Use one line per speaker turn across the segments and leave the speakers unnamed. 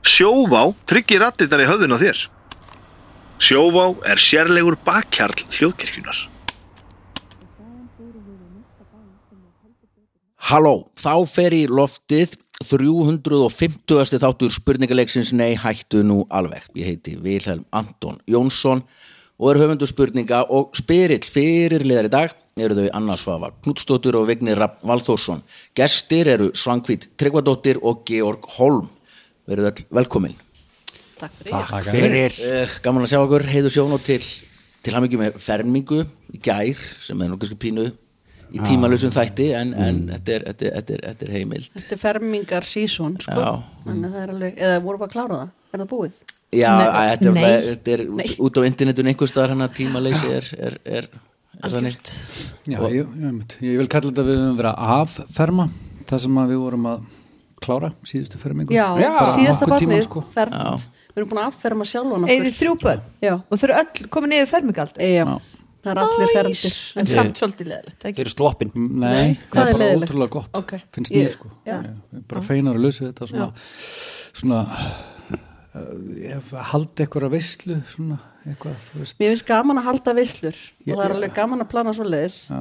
Sjóvá tryggir rattirnar í höfðun á þér. Sjóvá er sérlegur bakkjarl hljóðkirkjunar.
Halló, þá fer í loftið 350. þáttur spurningaleiksins Nei, hættu nú alveg. Ég heiti Vilhelm Anton Jónsson og er höfundu spurninga og spyrill fyrirliðar í dag eru þau Anna Svafa Knutsdóttir og Vignir Rapp Valþórsson. Gestir eru Svangvít Tryggvadóttir og Georg Holm. Verið all velkomin.
Takk fyrir.
Takk fyrir
Uh, gaman að sjá okkur, heiðu sjón og til, til hann með fermingu í gær sem er nú kannski pínu í tímalösum þætti en, en þetta, er, þetta, er, þetta, er, þetta er heimild.
Þetta er fermingar season, sko.
Já.
Þannig að það er alveg, eða vorum við að klára það? Er það búið?
Já,
Nei.
að þetta er,
Nei.
alltaf- þetta er út, út á internetun einhverstaðar hann að hérna, tímaleysi er, er, er, er þannig
Já, ég, ég, einmitt. ég vil kalla þetta að við höfum verið að afferma það sem að við vorum að klára síðustu fermingu
Já,
Bara
síðasta
nokkurn tímann,
barnið,
sko.
fermt. Við erum búin að afferma sjálfan okkur.
Eða þrjú börn
Já.
og þau eru öll komin niður fermingald
Já, það er allir fermtir.
en samt svolítið leðilegt
Þeir eru sloppin
Nei,
hvað
það
er
er bara
leiðilegt?
ótrúlega gott
Ok.
finnst mér
Ég-
sko
já.
Ég- ég er bara feinar að lausa þetta svona, svona uh, haldi eitthvað veistlu svona eitthvað, þú veist
Mér finnst gaman að halda veislur
Já,
og það er
já.
alveg gaman að plana svo leiðis.
Já.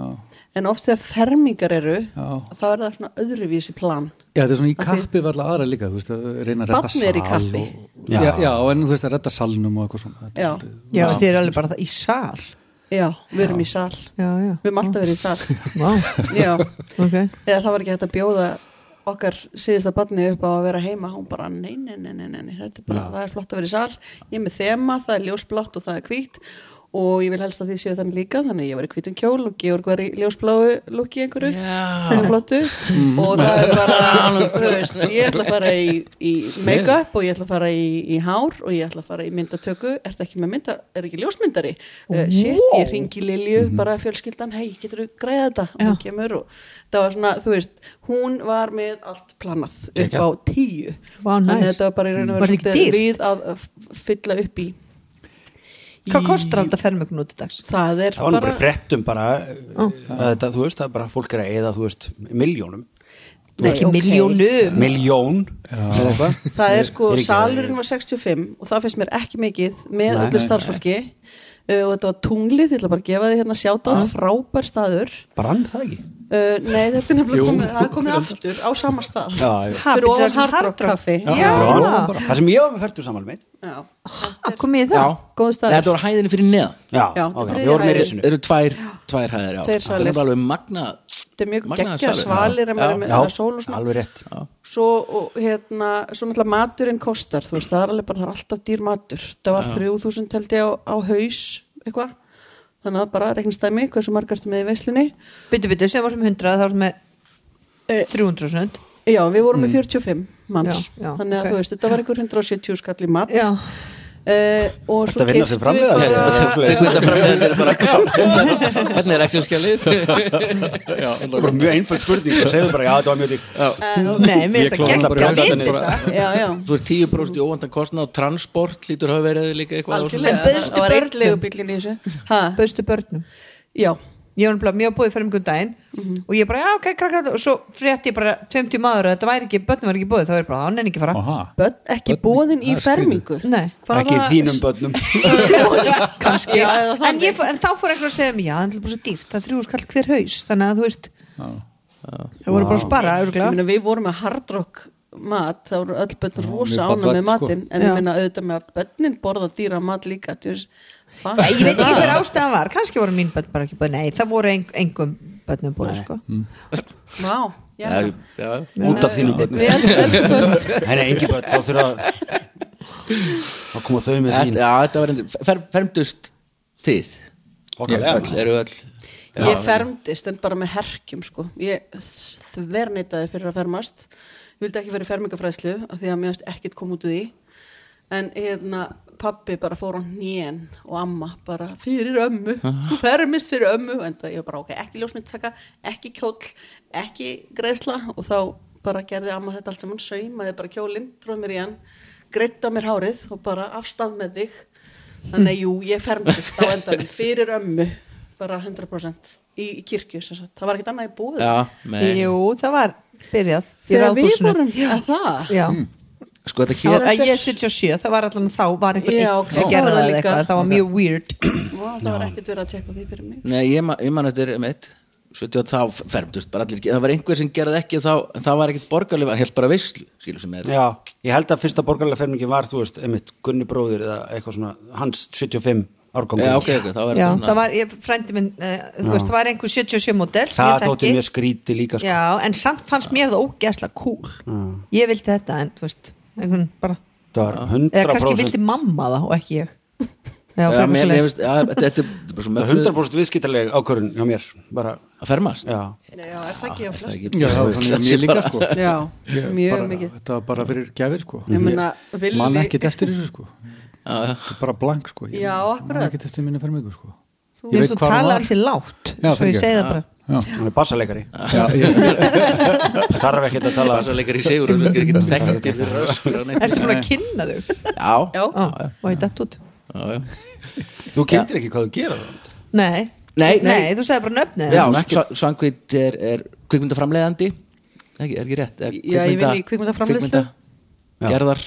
En oft þegar fermingar eru,
Já.
þá er það svona öðruvísi plan.
Já, þetta er svona í
Af því-
kappi var alltaf aðra líka, þú veist, að reyna að redda
Barnið er í
sal
kappi.
og, já. Já, en þú veist, að redda salnum og eitthvað svona Þetta er
Já.
svolítið-
Já, þið eru alveg bara það í sal
Já, við erum í sal.
Já, já
Við erum alltaf verið í sal.
Vá,
Já,
ok
eða það var ekki hægt að bjóða okkar síðasta barni upp á að vera heima hún bara nei, nei, nei, nei, nei, nei. þetta er bara, það er flott að vera í sal, ég er með þema það er ljósblátt og það er hvít og ég vil helst að þið séu þannig líka, þannig að ég var í hvítum kjól og Georg var í ljósbláu lukki einhverju, þannig flottu og það er bara, þú veist ég ætla að fara í, í make-up og ég ætla að fara í, í hár og ég ætla að fara í myndatöku, ertu ekki með mynda er ekki ljósmyndari, uh, shit, ég ringi Lilju, bara fjölskyldan, hei, getur þú græða þetta, og hún kemur og það var svona, þú veist, hún var með allt planað upp á tíu
Vá,
þannig að
næs.
þetta var bara í raun og
Var
veru
þetta ekki
svolítið
dýrt?
ríð að að f- fylla upp í
Hvað kostar alltaf fermingun út í dags?
það er
Það var nú bara í
bara
fréttum bara oh. þetta, þú veist, það er bara fólk er að eða, þú veist, miljónum
Nei,
ekki
ok.
miljónum
Miljón eða eitthvað
það er sko,
Er ekki-
salurinn var 65 og það finnst mér ekki mikið með
Nei,
öllu
nei,
starfsfólki Uh, og þetta var tunglið, ég ætla bara að gefa þið hérna sjátátt, frábær staður
Brann það ekki?
uh, nei þetta er nefnilega komið, það er komið aftur á sama stað
Já, já.
Ha,
fyrir
býttu, það
ofan
sem Hard Rock
hardrock kaffi
Já.
Brann. Það sem ég var með færtur saman mitt
Já.
Ha, Komið í það?
góður staður.
Þetta voru hæðinni fyrir neðan
Já,
Já,
ok,
þriðja
við vorum í
hæðin.
risinu
Eru tvær, tvær hæðir, já
Tveir
Þetta
salir.
er bara alveg magna
þetta er mjög
magnaðar
geggja
salir.
svalir að maður er með
Já,
það er sól og svona
alveg rétt
svo, og, hérna, svo náttúrulega maturinn kostar þú veist, það er alveg bara, það er alltaf dýr matur það var 3000 held ég á, á haus eitthvað, þannig að bara reiknstæmi hversu margarstu með í veislinni
Byttu, byttu, sem var sem 100 þá var sem með
Eh,
300 sund
já, við vorum
Mm.
með 45 manns
Já, já,
þannig að
ok.
þú veist, þetta var einhver 170 skall í mat
Já.
Eh, og
Þetta
svo
vinna sig
keyptum
fram
við
við
bara-
það
Tekum þetta fram, þetta er bara Hvernig er Excel-skjalið?
Það var mjög einföld spurning og segðu bara, já, þetta var mjög dýrt
Nei, mér
Ég
finnst það
kláraði bara
geggja
í
að
höndunum
þetta
já, já
Svo er 10% í óvandan kostna og transport lítur hafa verið líka eitthvað á svona.
Algjörlega,
En bauðstu
það var einn
börnum?
leigubíllinn í þessu ha,
Bauðstu börnum
Já,
Ég var nefnilega mjög búið fermingum daginn og ég bara, já, ok, krakkar og svo frétti ég bara 20 maður að þetta væri ekki, börnum var ekki búið þá er ég bara, hann er ekki að fara
Aha.
börn, ekki
Börn-
bóðin í
það er skrýtið.
fermingu
Nei.
Hvaða-
Ekki í þínum börnum
kannski
Já, eða
en,
þannig.
ég, fór- en þá fór eitthvað að segja mér já, það er náttúrulega bara svo dýrt, það er þrjú skall hver haus þannig að þú veist það voru bara að spara,
Ég
örgulega
meina, við vorum með hardrock mat, þá voru öll börn rosa
mjög
ána með
fallegt,
matinn en
Já.
ég meina auðvitað með að börnin borða dýra mat líka þú veist, fatta
ég veit ekki
það.
hver ástæðan var, kannski voru mín börn bara ekki búið, nei, það voru eng, engum börnum búið, sko
Vá, já,
Já, já.
Út af þínum börnum
Við elskum- elskum börn.
Nei, nei, engin börn, þá þurfa að þá koma þau með
Þetta
sín
já, þetta var endur, fer, fermdust þið Öll,
Okkarlega.
eru öll
Ég fermdist en bara með herkjum sko. Ég þvernitaði fyrir að fermast Ég vildi ekki vera í fermingafræðslu af því að mér finnst ekkert kom út úr því En hérna pappi bara fór á hnén og amma bara fyrir ömmu, þú fermist fyrir ömmu en það ég var bara ok, ekki ljósmyndtaka ekki kjóll, ekki greiðsla og þá bara gerði amma þetta allt saman saumaði bara kjólinn, tróð mér í hann greitt á mér hárið og bara afstað með þig þannig að jú, ég fermdist á endanum fyrir ömmu bara 100% í, í kirkju sem sagt. það var ekkert annað í búið
Já, með
jú, það var byrjað í
þegar við
ráðhúsinu.
vorum að það
já,
sko þetta
Já,
hér
að ég 77, það var allan þá var einhver
Já,
einn
ok.
sem
Já,
gerði
það
það
líka.
eitthvað, það var mjög weird
og það var ekkert verið að tjekka á því fyrir mig
Nei, ég, ma ég man þetta er mitt 70 og þá fermdust bara allir ekki það var einhver sem gerði ekki þá en það var ekkert borgarlega held bara veislu skilur sem er
Já, ég held að fyrsta borgarlega fermingin var, þú veist, einmitt Gunni bróðir eða eitthvað svona, hans 75 árgangur.
Já, ok, ok, þá er
Já,
þetta
það
svona
var, ég, frændi minn, eh, þú veist, það var einhver 77 model sem
Það
ég
þótti
þekki
mjög skríti líka, sko.
Já, en samt fannst mér það ógeðslega cool
Mm.
Ég vildi þetta, en þú veist, einhvern bara
Það var
Eða kannski
100%,
vildi mamma það og ekki ég
Já,
Já, frekar
mér- mér
svoleiðis.
finnst- já, þetta þetta er bara svo
það var
mögnuð
100 viðskiptaleg ákvörun hjá mér, bara,
að fermast Ah,
já.
Nei, já, er það ekki á flest
Já, það var þannig að mér líka sko
Já,
Ég
mjög
bara,
mikið
Þetta var bara fyrir gefið sko
Ég meina,
Ég
villi-
Man ekkert eftir þessu sko
já.
Þetta er Bara blank sko Ég
Já,
Man
akkurat.
ekkert eftir minni fermingu sko Ég
Mér finnst þú
hvar hún
tala
var.
hans í
Já,
lágt Svo ég
fyrirgefðu.
segi það bara
Já,
Hann er bassaleikari,
já, ég,
þarf ekkert að tala
Bassaleikar í sigur og ekki þekktir fyrir öskra og neitt.
Ertu búin að kynna þau?
Já,
Já, og ég dætt út
já, já
Þú kynntir ekki hvað þú gera það
Nei,
Nei, nei.
þú segði bara nöfnið
Já,
ekki-
Sa- Svankvít er, er kvikmyndaframleiðandi ekki, er ekki rétt er
Já, ég vinn í kvikmyndaframleiðslu.
Já.
kvikmynda, Gerðar,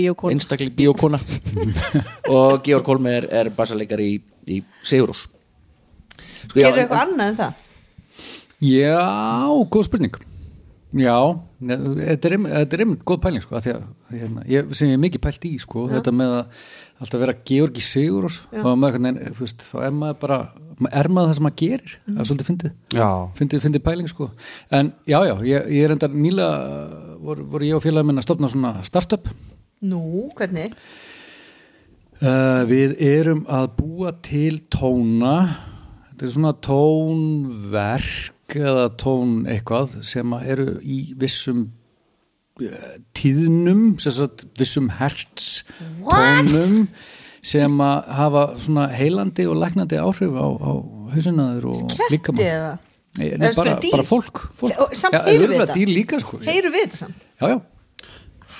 Bíókona
einstakling bíókona og Georg Holme er, er bassaleikar í, í Sigurús sko, já,
Gerðu
en-
eitthvað annað en það?
Já, góð spurning Já, ne- þetta er einmitt- þetta er einmitt góð pæling sko, af því að hérna, ég, sem ég er mikið pælt í sko, þetta með að alltaf vera Georgi Sigur og maður, hvernig, þú veist, þá er maður bara er maður það sem maður gerir,
Mhm.
það er svolítið fyndið
Já.
fyndið, fyndið pæling sko en já, já, ég, ég er enda nýlega voru, voru ég og félagum minn að stopna svona startup
Nú, hvernig?
Uh, við erum að búa til tóna þetta er svona tónverk eða tón eitthvað sem að eru í vissum eh, tíðnum sem sagt, vissum herts tónum sem að hafa svona heilandi og læknandi áhrif á, á hausinaður og líka
Ketti eða?
Nei,
Eða
bara,
fyrir dýr?
bara fólk, fólk.
Og samt
Já,
heyrum við
örugglega
þetta.
dýr líka sko
Heyru við þetta samt?
já, já,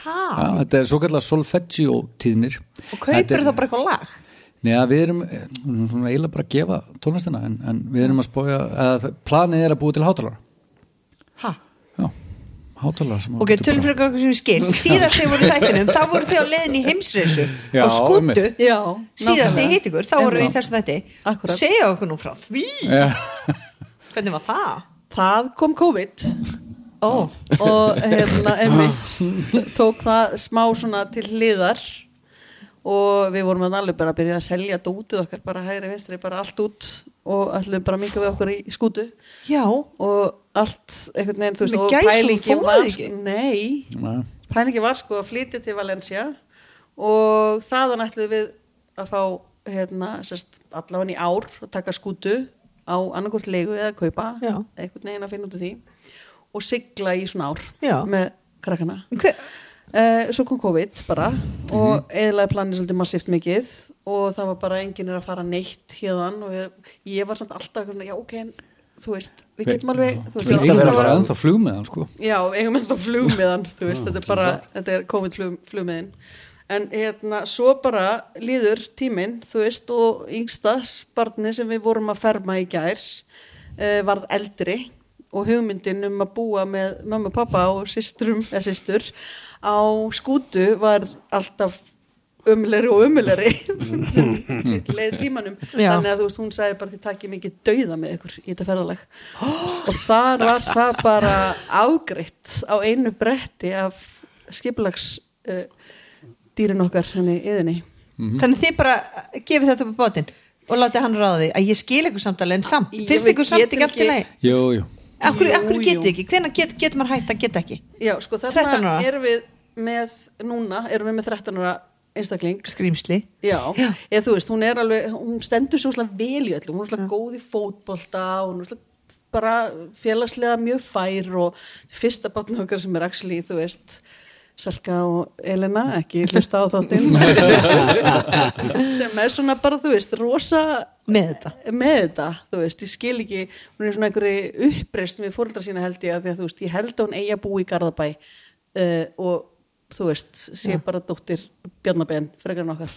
Hæ?
já, þetta er svo kallar solfeggio tíðnir
Og
Þetta er-
kaupir þá bara eitthvað lag?
Nei, að við erum eh, nú erum svona eiginlega bara að gefa tónlistina en, en við erum að spója að planið er að búa til hátalara
Hæ?
Já, hátalara sem
Ok, tölum fyrir eitthvað sem ég skil Síðast þegar voru í þættinum, þá voru þau á leiðin í heimsreysu
Já,
og skútu
einmitt.
Já,
Síðast
nákvæmlega.
þið hitt ykkur, þá voru við í
Einmitt.
þessum þætti
Akkúrat.
Segja okkur nú frá því
fyrir
Hvernig var það?
Það kom COVID
Ó,
og hérna einmitt tók það smá svona til hliðar og við vorum að alveg bara að byrja að selja þetta útið okkar bara hægri vinstri, bara allt út og allir bara minka við okkur í skútu
já
og allt einhvern veginn, þú veist,
Með
og
gæsum
pælingin
fóruð
var sko-
ekki?
nei,
Nei.
pælingin var sko að flytja til Valencia og þaðan ætlum við að fá hérna, sérst, allan í ár og taka skútu á annarkvort leigu eða kaupa,
Já.
einhvern veginn að finna út af því og sigla í svona ár
Já.
með krakkana
Hver,
uh, svo kom COVID bara og eðlaði planið svolítið massíft mikið og það var bara enginn er að fara neitt hérðan og ég, ég var samt alltaf svona, já ok, en, þú veist við getum alveg, þú
Við
Fínt að
eigum
vera
bara
bara-
ennþá flug með hann sko
Já, við eigum ennþá flugmiðan þú veist, þetta er bara, þetta er COVID flug, flugmiðin en hérna, svo bara líður tíminn, þú veist og yngstas barni sem við vorum að ferma í gær uh, varð eldri og hugmyndin um að búa með mamma, pappa og systrum, eða systur á skútu var alltaf ömulegri og ömulegri leið tímanum
Já.
þannig að þú veist, hún sagði bara þið takkið mikið dauða með ykkur í þetta ferðalag og þar var það bara ágreitt á einu bretti af skiplags uh, dýrin okkar hérna henni yðinni Mhm.
Þannig þið bara eh, gefið þetta upp á bátinn og látið hann ráða því að ég skil ykkur samt alveg en samt,
Ég
finnst
veit-
ykkur samt
getum
ekki allt í
ekki-
lagi
Jú, jú,
Akkur,
Jú,
akkur
jú.
getið ekki, hvenær get, getur maður hægt að geta ekki
já sko
13
þarna
ára?
erum við með núna erum við með 13 ára einstakling
Skrýmsli
Já,
Já.
eða þú veist, hún er alveg, hún stendur svo slag vel í öllum, hún er slag góð í fótbolta og hún er slag bara félagslega mjög fær og fyrsta batna okkar sem er actually, þú veist, Salka og Elena, ekki hlusta á þáttinn, sem er svona bara, þú veist, rosa
með þetta
með þetta, þú veist, ég skil ekki hún er svona einhverju uppreist með fóreldra sína held ég að því að þú veist, ég held að hún eigi að búa í Garðabæ uh, og þú veist, sé bara dóttir Bjarnabenn, frekar en okkar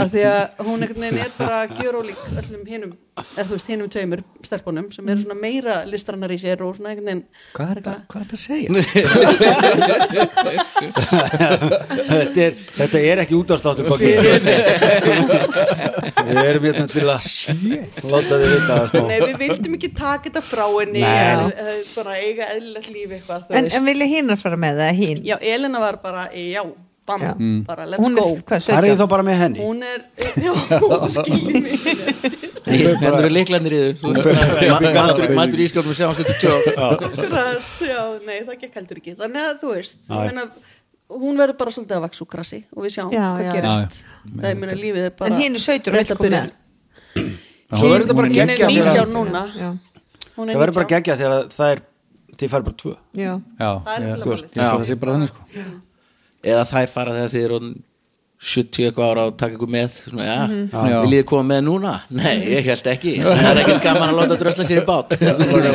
af því að hún einhvern veginn er bara gjörólík öllum hinum eða þú veist, hinum tveimur stelpunum sem eru svona meira listrannar í sér og svona einhvern veginn
Hvað er
frekar-
þetta- hvað er þetta að segja?
þetta, er, þetta er ekki útvarstáttur kokki Við erum hérna til að láta þið vita það sko. smá
Nei, við vildum ekki taka þetta frá henni
Nei.
en, eh, bara eiga eðlilegt líf eitthvað þú
en,
veist.
en vilja hínar fara með það, hín
Já, Elena var bara, já, bam,
Já.
bara let's
hún
go
er, hvað,
Það er
17?
þá bara með henni
Hún er, já, hún skilur mig
hendur er leiklandir í þau matur í ískjálfum sem hann setur tjó
Akkurat, já, nei, það gekk heldur ekki þannig að þú veist ég meina, hún verður bara svolítið að vaxa úr krassi og við sjáum
Já,
hvað
já.
gerist það er mér að lífið er bara
En hin er 17
rétt
og vill
að
koma
byrja.
með.
Svo verður þetta bara
Hún er
geggjað þegar
19
að-
núna
já,
Hún er
Það verður bara
19.
geggja þegar að það er Þið fær bara tvö
já,
Já,
Það er
ég-
nefnilega
þú veist,
málið.
ég held að það sé bara þannig sko
eða þær fara þegar þið eru orðin 70 eitthvað ára og taka ykkur með svona, ja,
Mhm.
Já.
viljið þið koma með núna? Nei, ég held ekki það er ekkert gaman að láta drösla sér í bát Já, ég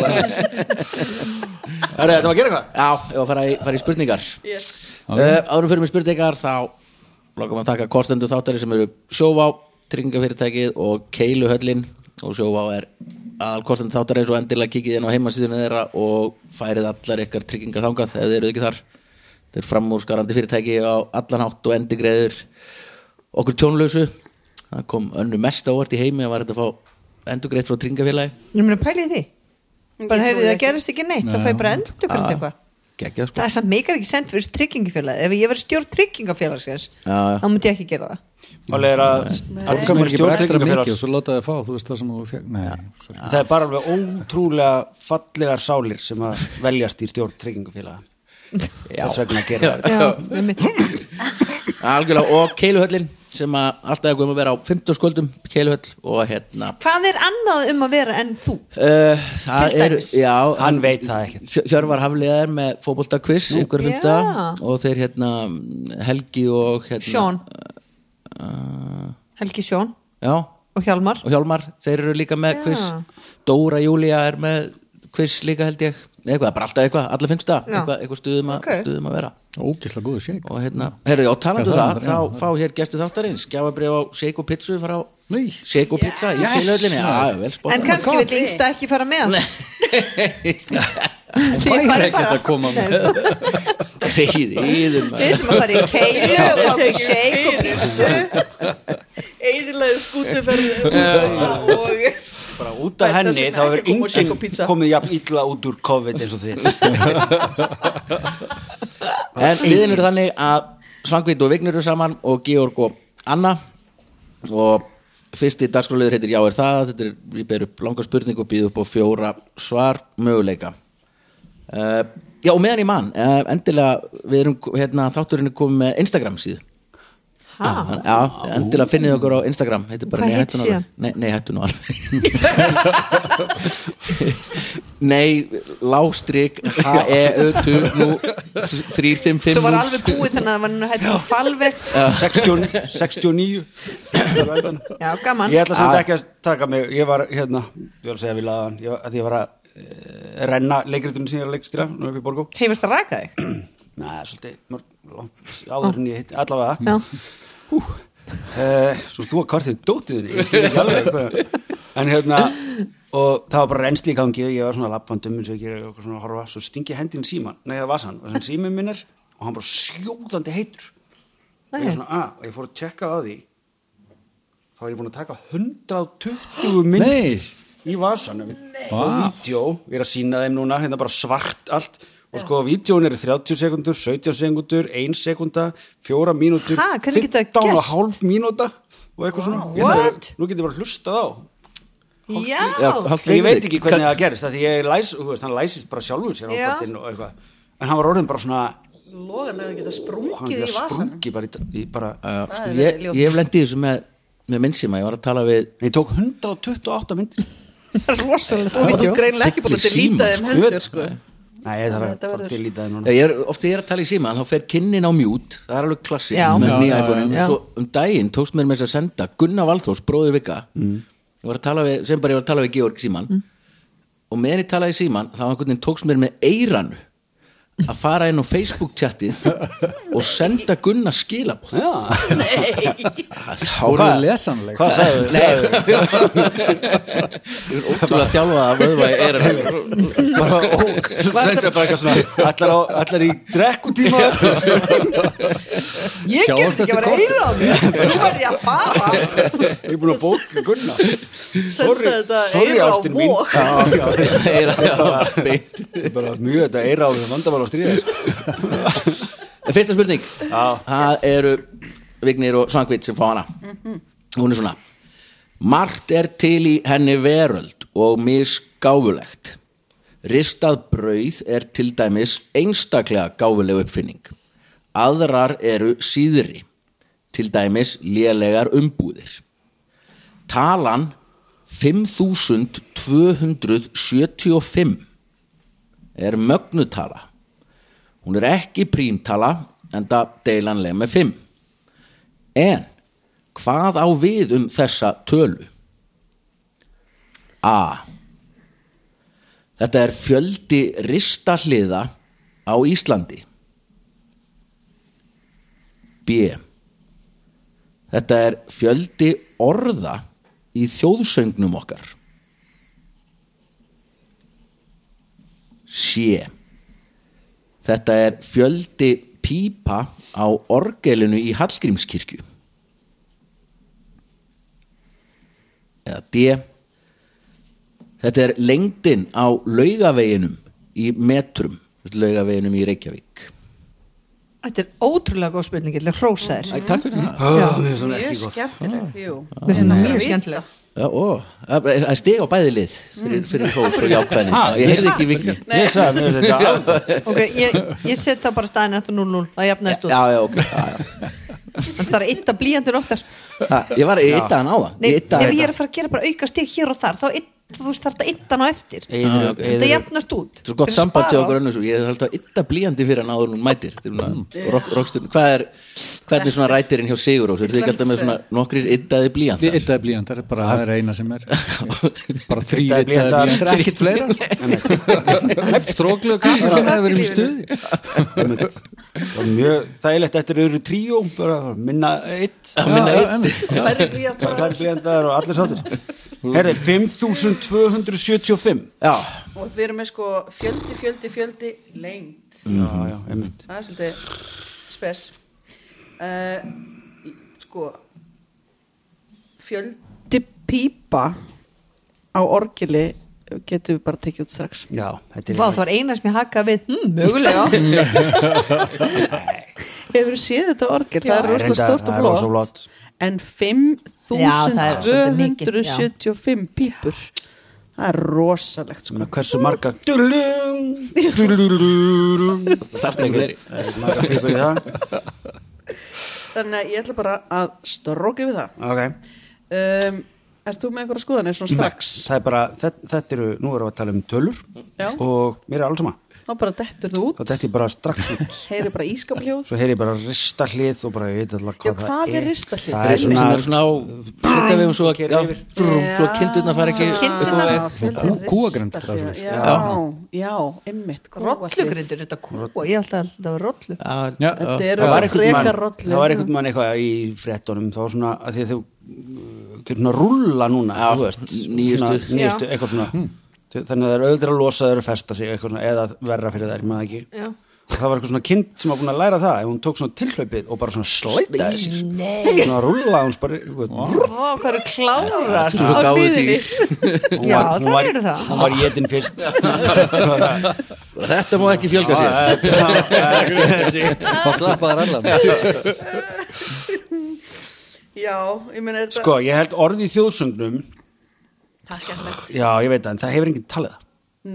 Það er þetta að gera eitthvað
var að fara í, fara í spurningar
yes.
uh, Árum fyrir mig spurningar þá lokum að taka kostendu þáttari sem eru Sjóvá, tryggingafyrirtækið og Keiluhöllin og Sjóvá er aðal kostendu þáttari eins og endilega kikið inn á heimasíðunni þeirra og færið allar ykkar tryggingar þangað ef þið eru ekki þar þeir eru framúrskarandi fyrirtæki á allan hátt og endigreður okkur tjónlausu það kom önnu mest ávart í heimi að var þetta að fá endugreitt frá tryggingafélagi
ég meina pælið því
Ég
bara
trúi
heyrðu það
ekki.
gerist ekki neitt, það fæ ég bara endur
Já.
eitthvað
geggjað sko
það er samt meikar ekki sent fyrir tryggingafélag ef ég verið stjórn tryggingafélagsins
Já, já.
þá myndi ég ekki gera það
Máli er að
Það
allir
kom
komur
ekki bara ekstra mikið og
stjórntryggjafélags
svo láta þið fá, þú veist það sem þú fekk Nei, sorry.
Það er bara alveg ótrúlega fallegar sálir sem að veljast í stjórntryggingafélaga Þess vegna að gera það
já, einmitt.
algjörlega og Keiluhöllin sem að alltaf er komið að vera á 50 skuldum Keiluhöll og hérna
hvað er annað um að vera en þú
Uh, það
Til
er,
dæmis.
já,
Eh, Hann veit það ekkert
Hjör- Hjörvar Hafliðar með fótboltakviss ykkur
Já.
fymta og þeir hérna Helgi og hérna
Sjón,
uh,
Helgi Sjón
já, og
og Hjalmar
Hjálmar þeir eru líka með
Já.
kviss Dóra Júlía er með kviss líka held ég Nei, eitthvað, bara alltaf eitthvað, alla fymta
Já.
eitthvað, eitthvað stuðum, a,
Ok.
stuðum að vera
Ógislega góðu shake
og hérna, herru, já, talandi um
Já,
það,
það er
þá
það, já.
fá hér gesti þáttarins, gjafabrif á Shake og Pizzu frá
Nei.
Shake og Pizza í
Yes.
kynlöðlinni, já, vel spott
en kannski vil yngsta ekki fara með
Fær
Þið farið
ekkert
bara-
að koma með
reyði, íðum
við þurfum að fara í
Við
keilu og fá okkur
tekjum
shake og
fyrir.
písu
Eyðilegu skútuferð og
bara út af
Bæta
henni
sig með
þá hefur
eggjum og
enginn
shake og pizza.
komið jafn illa út úr COVID eins og þið
En liðin eru þannig að Svangvít og Vignur eru saman og Georg og Anna og fyrsti dagskráliður heitir Já er það þetta er, við berum upp langa spurning og býðum upp á fjóra svar möguleika uh, Já og meðan í mann uh, endilega við erum hérna, þátturinn er komið með Instagram síðu
Ha?
Já, endilega finnið okkur á Instagram heitir bara
Ah. Hvað
Nei,
heitir
hættu nú
síðan?
alveg. Nei, nei, hættu nú alveg Nei, E lástrík H-E-U-T nú 355
svo var alveg búið þannig að það var nú hættu falveg
60 69
já, gaman
ég ætla
Ah.
samt ekki að taka mig ég var hérna, ég var að segja við laðan ég, var- að því ég var að eh, renna leikritinu sem ég er að leikstýra, nú upp í Borgó
heimast að raka þig
neða, svolítið, mörg, langt áður en ég hitti allavega
já,
Eh, svo þú að kvartið dótiðinni ég skil ekki alveg hvað- en hérna og það var bara reynsli í gangi og ég var svona lappandum eins og ég gera og svona að horfa svo stingi hendin síman, nei það var sann og sem símin minn er og hann bara sjóðandi heitur og ég
Nei.
var svona að og ég fór að tjekka á því þá er ég búin að taka 120 minn
Nei.
í vasanum og
Vá.
vídeo, ég er að sína þeim núna hérna bara svart allt og sko vídjón eru 30 sekundur, 17 sekundur 1 sekunda, 4 mínútur
Ha, hvernig getur það
15 og
gerst?
hálf mínúta og eitthvað svona Ég þarf að- nú getur ég bara hlustað á
Já,
já.
haltu
ég
í
veit
þig.
ekki hvernig það gerist af því ég læs, þú veist, hann læsist bara sjálfur sér á
Já.
kortinu og eitthvað en hann var orðin bara svona
logan að það geta
hann
sprungið
er
í vasan
sprungi bara, í, í bara
Já,
Það er
sko, ég,
verið ljótt.
ég hef lendið þessu með, með minn síma, ég var að tala við
en ég tók 128 myndir
rosalega
og þú greinlega ekki búin að
Fullir
líta
símar,
þeim
sko, ég
heldur
veit.
sko
nei, ég þarf
Þetta
að
verður-
fara til í það núna
ég er, ofta ég er að tala í síma þá fer kinnin á mjút, það er alveg klassik
Já.
með
Já,
nýja
já,
iPhone-in,
já.
svo um daginn tókst mér með þess að senda Gunnar Valþós, bróðir Vika
Mm.
ég var að tala við, sem bara ég var að tala við Georg Síman og meðan ég talaði í síman þá einhvern veginn tókst mér með eiranu að fara inn á Facebook chatið og senda Gunna skilabóð
Já,
þá
Hvað
er
er lesanleik?
hvað sagði þau?
ótrúlega þjálfað að vöðva í eran
Bara, ó, svo sendu bara eitthvað svona Allar, á, allar í drekkutíma á eftir
Ég
Sjáumst eftir
gerði ekki bara
kort.
heyra á því Nú verði ég að fara
Ég er búin að bóka Gunna Sorry,
þetta
sorry
eyrað á
ástin mín
vog.
Já, já,
eran beint
þetta er bara mjög þetta eira á þessu vandamál á stríða sko.
En Fyrsta spurning Það eru Vignir og Svangvitt sem fá hana Hún er svona Margt er til í henni veröld og misgáfulegt Ristað brauð er til dæmis einstaklega gáfuleg uppfinning Aðrar eru síðri Til dæmis lélegar umbúðir Talan 5275 er mögnutala Hún er ekki prímtala en það deilanleg með 5. En hvað á við um þessa tölu? A. Þetta er fjöldi ristahliða á Íslandi. B. Þetta er fjöldi orða í þjóðsöngnum okkar. C. Þetta er fjöldi pípa á orgelinu í Hallgrímskirkju. Eða D. Þetta er lengdin á laugaveginum í metrum, laugaveginum í Reykjavík.
Þetta er ótrúlega góð spurning Þetta er hrósaðir
Æ, takk fyrir það.
Já, það er svona ekki
Mjög
gott
skemmtileg Jú.
Mér finnst þetta mjög skemmtileg
Já, ó, það það stig á bæði lið fyrir, fyrir hrós og jákvæðni.
Ha,
Mm. Ég heyrði ekki vikni.
Ég sagði, mér finnst þetta alveg
Ok, ég, ég set það bara staðin eftir 0-0 Það jafnaðist út
Já, já, ok. Já, já.
Þannig það er eitt að blíjandur oftar
Ha, Ég var, ég ittaðan á það.
Nei, ef
yddaði hann.
ég er að fara að gera bara auka stig hér og þar Þá eydda- þú veist þarf þetta eitt á eftir
Eyður-
Þetta
eyður-
jafnast út
Svo gott
Fyrir að
samband til
spara á-
okkur önnur svo ég er alltaf ytta blíjandi fyrir hann áður en hún mætir Þetta er svona rock, rockstjörn Hvað er, hvernig svona rætirinn hjá Sigur Ós? Er þið ekki alltaf með svona nokkrir yttaði blíjandi?
Þetta er blíjant, það er bara það er eina sem er bara þrý
Þetta er
vitaði
blýantar.
blíjant, ekkert fleira stróklu og kaffi það hefur verið í stuði
Einmitt. Og mjög þægilegt eftir öðru tríó bara minna eitt
minna eitt
Færri blýantar.
færri blíðandar og allir sáttir herri, 5275
Já,
og við erum með sko fjöldi, fjöldi, fjöldi lengd
já, já, einmitt
það er svolítið spes uh, sko fjöldi pípa á orgili getum við bara tekið út strax
já, þetta er
Vá, það var eina sem ég hakkaði við hm, Mögulega
hefur séð þetta orgil, það er
Já,
rosalega
reyndar,
stórt
það er
og
rosa
flott
flott.
en
Já, það er svolítið mikið, já.
5275 pípur það er rosalegt sko
hversu marga þarf
ekki fleiri.
ok,
þannig að ég ætla bara að stróki við það um, Ert þú með einhverja skoðanir svona strax?
það er bara þetta, þetta eru, nú erum við að tala um tölur
Já.
og mér er alls sama
Þá bara dettur þú út
þá þetta er bara strax út
heyri bara ískapaljóð
svo heyri ég bara rista hlið og bara ég veit
Já,
alltaf hvað
hvað
það
er ristahlið?
það er
sem
svona
er svona á Svita við um svo að
Keyrir
já,
yfir.
frum, Svo kindurna fara ekki
Kindurnar-
kúagrind, bara
Já,
svona.
já, já, ymmit
Rollugrindur, þetta kúa Ég held að þetta var rollu
Þetta eru
það var
bara
einhvern
frekar
mann
rollu
það var einhvern mann eitthvað í frettunum þá var svona að því að þau getur svona rúlla núna
Já,
þú veist,
nýjustu.
svona, nýjustu
Já.
eitthvað svona
Hmm.
þannig að það er auðvitað að losa þau að festa sig eitthvað svona, eða verra fyrir þær, maður ekki
Já.
og það var eitthvað svona kind sem var búin að læra það ef hún tók svona tilhlaupið og bara svona slætaði sig svona rúlla hún bara wow.
Ó, hvað eru klárar
Þú svo
á
gáfuð
hliðinni
hún
Já,
var,
það
hún var,
eru það.
hún var jetin fyrst
Þetta má ekki fjölga sér
og slappaðar allan
Já, ég meina er þetta
sko, ég held orði í þjóðsöngnum
Það er skemmtilegt
já, ég veit það, en það hefur enginn talið það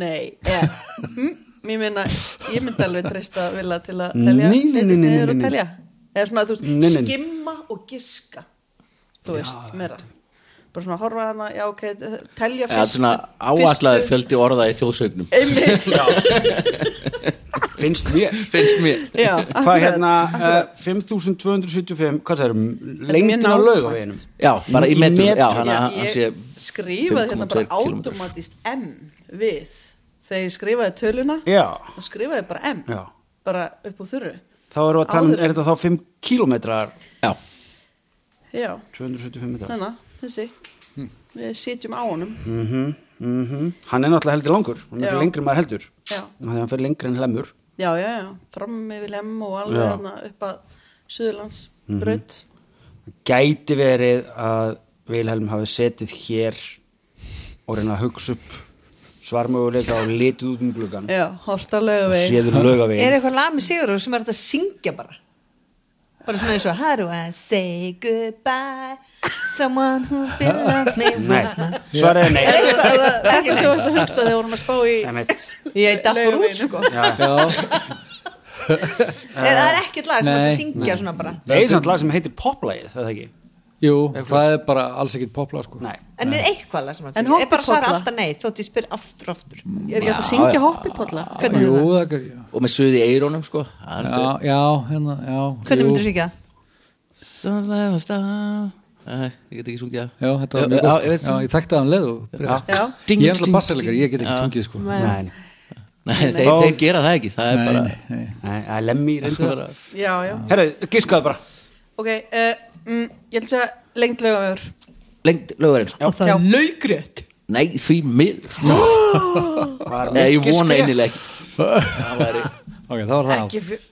Nei, eh, hm, ég meina ég myndi alveg treysta vilja til að
Nei,
telja
nei,
setjast
nei, nei,
niður
nei,
og
nei.
telja Eða svona, þú
Nei, nei,
veist,
nei.
skimma og giska Þú veist, meira Bara svona horfa hana, já, ok, telja
Eða
fyrst
svona áallaður fjöldi orða í þjóðsögnum
Einmitt,
finnst mér
Finnst mér
já,
hvað
akkurat.
hérna, uh, 5275 hvað það er,
mjög
lengdin á
nákvæmt.
laugaveginum
Já, bara í
Í
metrum
metrum.
Já, hann hann
ég
sé
skrifaði hérna bara
5,2 kílómetrar.
automatist M við þegar ég skrifaði töluna
Já,
þá skrifaði ég bara M
Já.
bara upp úr þurru
þá erum við að tala
Áður.
um, er þetta þá 5 kilometrar,
já,
já,
275 metrar?
þannig, þessi við sitjum á honum
Mm mhm. Hann er náttúrulega heldur langur, hann er
Já.
ekki lengri en maður heldur.
Já.
Þannig að hann fer lengri en hlemur.
já, já, já, fram yfir lemm og alveg
Já.
þarna upp að Suðurlands braut
Gæti verið að Vilhelm hafi setið hér og reyna að hugsa upp svarmöguleika og litið út um gluggan
já, hortalega
og
veginn
séður
Er
lögavegin.
eitthvað lag með Sigur sem er hægt að syngja bara bara svona eins og How do I say goodbye someone who will love me
Nei, svarið er nei.
ekki sem varst að hugsa þegar vorum að spá í
Einmitt.
Ég dappur út
Laugaveginum.
sko
Já.
já,
Er það er ekkert lag sem er hægt
Nei,
að syngja svona bara
Það er samt lag sem heitir poplægið, það er ekki?
jú, það er bara alls ekkit popla sko
Nei.
En er eitthvað lag sem er hægt
En
að syngja Ég bara
hoppipolla?
svara alltaf nei þótt ég spyr aftur og aftur
ég er ekki hægt að
Já,
syngja
já.
hoppipolla hvernig
Jú,
er það?
það er ekki
og með suði eirónum sko Það er
Já, já, hérna, já
Hvernig
jú.
myndir syngja það?
Sannlega stað Nei, ég get ekki sungið það.
Já, þetta var
Já,
mjög
já, ég
góð
veit
sko. Já,
það.
ég þekkti það um leið og byrjaði sko.
já,
Ding,
Ég er alltaf
ding,
bassalegar, ég get ekki
Já.
tungið sko Nei,
Nei,
Nei, þeir, þeir gera það ekki Það er bara
nei, nei
nei, það er lemmi reyndið það.
bara-
já, já,
Herra, giskaðu bara.
ok uh, mm, ég held að lengd lögavegur
Lengd lögurinn
Og það er laugrétt
Nei, því miður
Var
Nei, ég
mitt gisk
vona
rétt?
einileg Það væri
Ok, það var það allt
ekki fjö-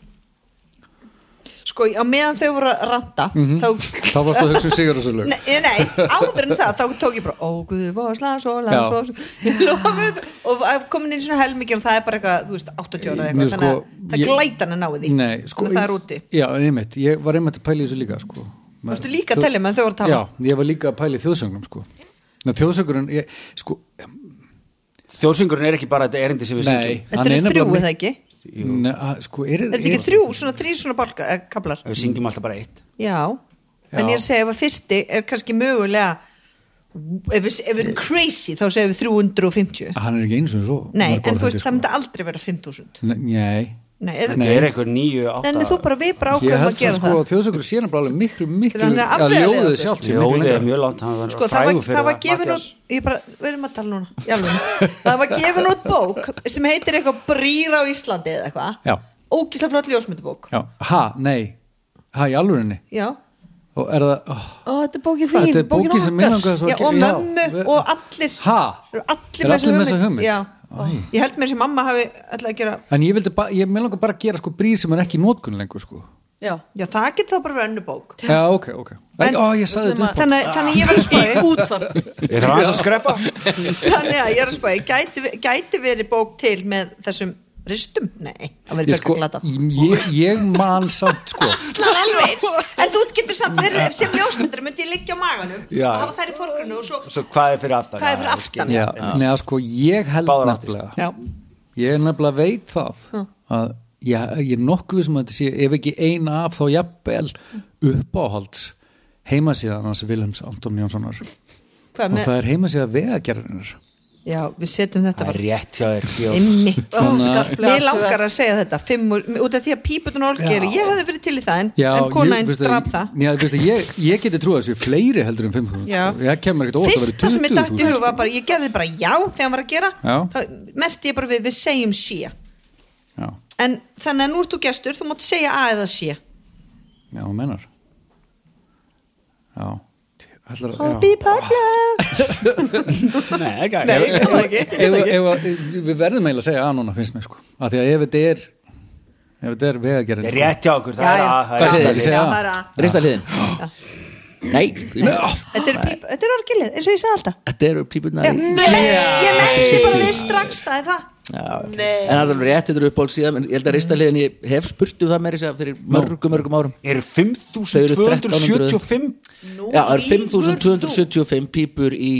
Sko, á meðan þau voru að ranta þá
Mhm. Þá varstu að hugsa um Sigur og
Nei, nei, áður en það, þá tók ég bara ó, guðu, vosla, sola,
Já.
sola ég lofið, og komin inn svona helmikið og það er bara eitthvað, þú veist, 80 ára eða
Nú,
eitthvað, þannig
sko,
að það
ég-
glætan að ná í því
Nei, sko
þannig að það er úti
Já, einmitt, ég var einmitt að pæla í þessu líka sko Maður-
Varstu líka að
þau-
telja meðan þau voru að tala?
Já, ég var líka að pæla í þjóðsögnum sko Ná, þjóðsögnurinn, ég, sko
Þjóðsöngurinn er ekki bara þetta erindi sem við
Nei,
syngjum.
Þetta
hann
eru
nefnilega
þrjú,
mi-
er það ekki?
Nei, að- sko, er
er þetta ekki þrjú, svona þrjú svona bálka, eh, kablar
Við syngjum alltaf bara eitt.
já, en
Já.
ég er að segja ef að fyrsti er kannski mögulega ef við, ef við erum crazy þá segjum við 350
Hann Ah, er ekki eins og svo
nei,
mörg
en
orð,
þú veist,
held
það
ég,
myndi aldrei vera 5000
sko. Nei,
nei, eða-
Þetta er eitthvað nýju, átta...
en þú bara við bara
ég
ákveðum
held
að gera
sko
það
að þjóðsögnur sé nefnilega alveg miklu, miklu
hann er að
að
afvegaleiða
ljóðið
okkur.
sjálft sé miklu
Ljóðið er
lengra.
mjög langt, hann var
sko, það
frægur
var,
fyrir
það var gefin
Matthías.
út ég bara, við erum að tala núna í alvörunni. það var gefin út bók sem heitir eitthvað brýra á Íslandi eða
Já.
eitthvað ógíslega flott ljósmyndubók
Já, ha, nei, ha í alvörinni
já.
og er það oh,
Ó, þetta er bókið
Hvað,
þín,
þetta er bókin
bókin
sem mig
okkar
langaði svo
Já,
að
og
gera-
mömmu
við-
og allir
ha,
eru allir
Eru
með
allir með
þessa hugmynd,
Já.
Já. ég held mér sem mamma hafi ætlaði að gera
en ég vildi bara, ég með langar bara að gera sko brýr sem er ekki í nótkunn lengur sko
já,
já, það getur það bara verið önnu bók
já, ok, ok, en, ó, ég sagði þetta upp á-
þannig, þannig ég var að spáði
útvarp
Ég þarf aðeins að skrepa.
þannig að ég er að spáði gæti, ve- gæti verið bók til með þessum ristum, nei, það
ég,
verið
sko,
sko, glata
ég, ég man samt sko
allar alveg eins. en þú getur samt þeir, sem ljósmyndari myndi ég liggja á maganum
Já.
og hafa þær í forgrunni og svo
Svo hvað er fyrir aftan?
Hvað er fyrir
Já,
aftan?
ég
já, neða sko, ég held
Báðar áttir.
nefnilega
já.
ég nefnilega veit það að ég, ég er nokkuð sem að þetta sé ef ekki eina af þá jafnvel uppáhalds heimasíðan hans Vilhelms Anton Jónssonar
Hvað,
og
með,
það er heimasíða vegagerðinir
já, við setjum þetta
Það er
bara
rétt hjá þér. Fjóð.
einmitt
skarplega
Mér langar að segja þetta fimm, og- út af því að píputun og orgeru
Já.
ég hefði verið til í það en, en kona einn draf það
Já, veistu, ég, ég geti trúið að þessu fleiri heldur en 5.000
Já.
sko. Ég kemur ekkert óvart að vera 20.000
Fyrsta sem ég dætti í hug
sko.
var bara, ég gerði bara já þegar hann var að gera,
Já.
þá merti ég bara við, við segjum sé
sko. Já,
en þannig að nú ert þú gestur, þú mátt segja að eða sé
já, hún meinar Já Ætlar,
Happy Potluck
Nei, ekki.
Nei,
ekki.
ég kann það
ef,
ekki, ég get það ekki.
ef, ef, Við verðum eiginlega að segja að núna finnst mér sko af Því að ef þetta er ef þetta er
Það
vegagerðin
er rétt hjá okkur.
Já,
Það er
já.
að. það er
Hvað
aftan.
segir þið?
Já,
segja það.
bara,
Rista hliðin Nei, því miður
Þetta er, píp, þetta er orgilið, eins og ég sagði alltaf
Þetta eru pípunar í-
Nei, ég merti bara við strax það er það
Já, ok. En það er alveg rétt, þetta eru uppáhalds síðan en ég held að rista hliðin, ég hef spurt um það meiri fyrir mörgum, mörgum árum
Eru
Þau eru
5.275
Já, það eru 5275 pípur í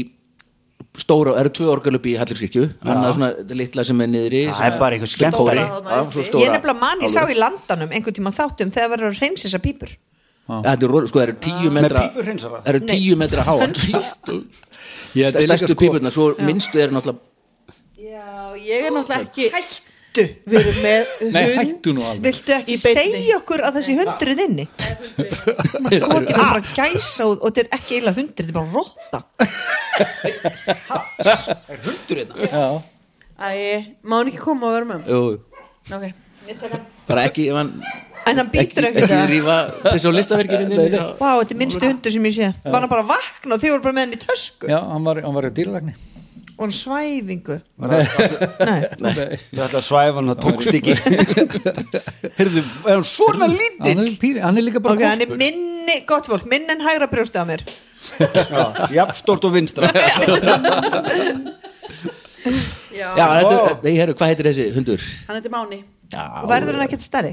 stóra, það eru tvö orgelup í Hallurskirkju annað svona þetta litla sem er niðri
Það
svona
er bara einhver skemmtari.
stóra, já,
Stóra þarna
svo
uppi.
stóra.
Ég nefnilega mann, ég sá í landanum einhvern tíma þáttum þegar verður að reynsa þessar pípur
Já, Þetta eru rola- sko, það eru tíu metra
pípuhreinsara?
það eru tíu metra háar stærstu
sko-
pípurna, svo sko- minnstu er náttúrulega
já, ég er náttúrulega ekki
Hættu
við erum með
Nei,
hund
hættu nú alveg
Viltu ekki
Í beinni.
segja okkur að þessi hundur er inni? Maður kom ekki bara gæsa og, og þetta er ekki eiginlega hundur, þetta er bara rotta
Er hundur hérna?
Æ, má hann ekki koma og vera með
Jú,
hann Ok
Ég tek hann.
bara ekki ef hann
En hann
ekki,
býtur ekkert
ekki
það
rífa þessu listaverkinu
Vá, þetta er minnstu hundur sem ég sé Var hann bara að vakna og þið voru bara með hann í tösku
Já, hann var, hann var í dýralækni
Og hann svæfingu
Nei.
Ég ætla að svæfa hann, það tókst ekki Heyrðu, er hann svona
Hann
lítill?
er, píri, hann er líka bara
Ok, hann er
kúspur.
minni, gott fólk, minni en hægra brjóstið á mér
Já, jafn stort og vinstra
Já, þetta- nei, herru, hvað heitir þessi hundur?
Hann heitir Máni
Já,
Og verður hann ekkert stærri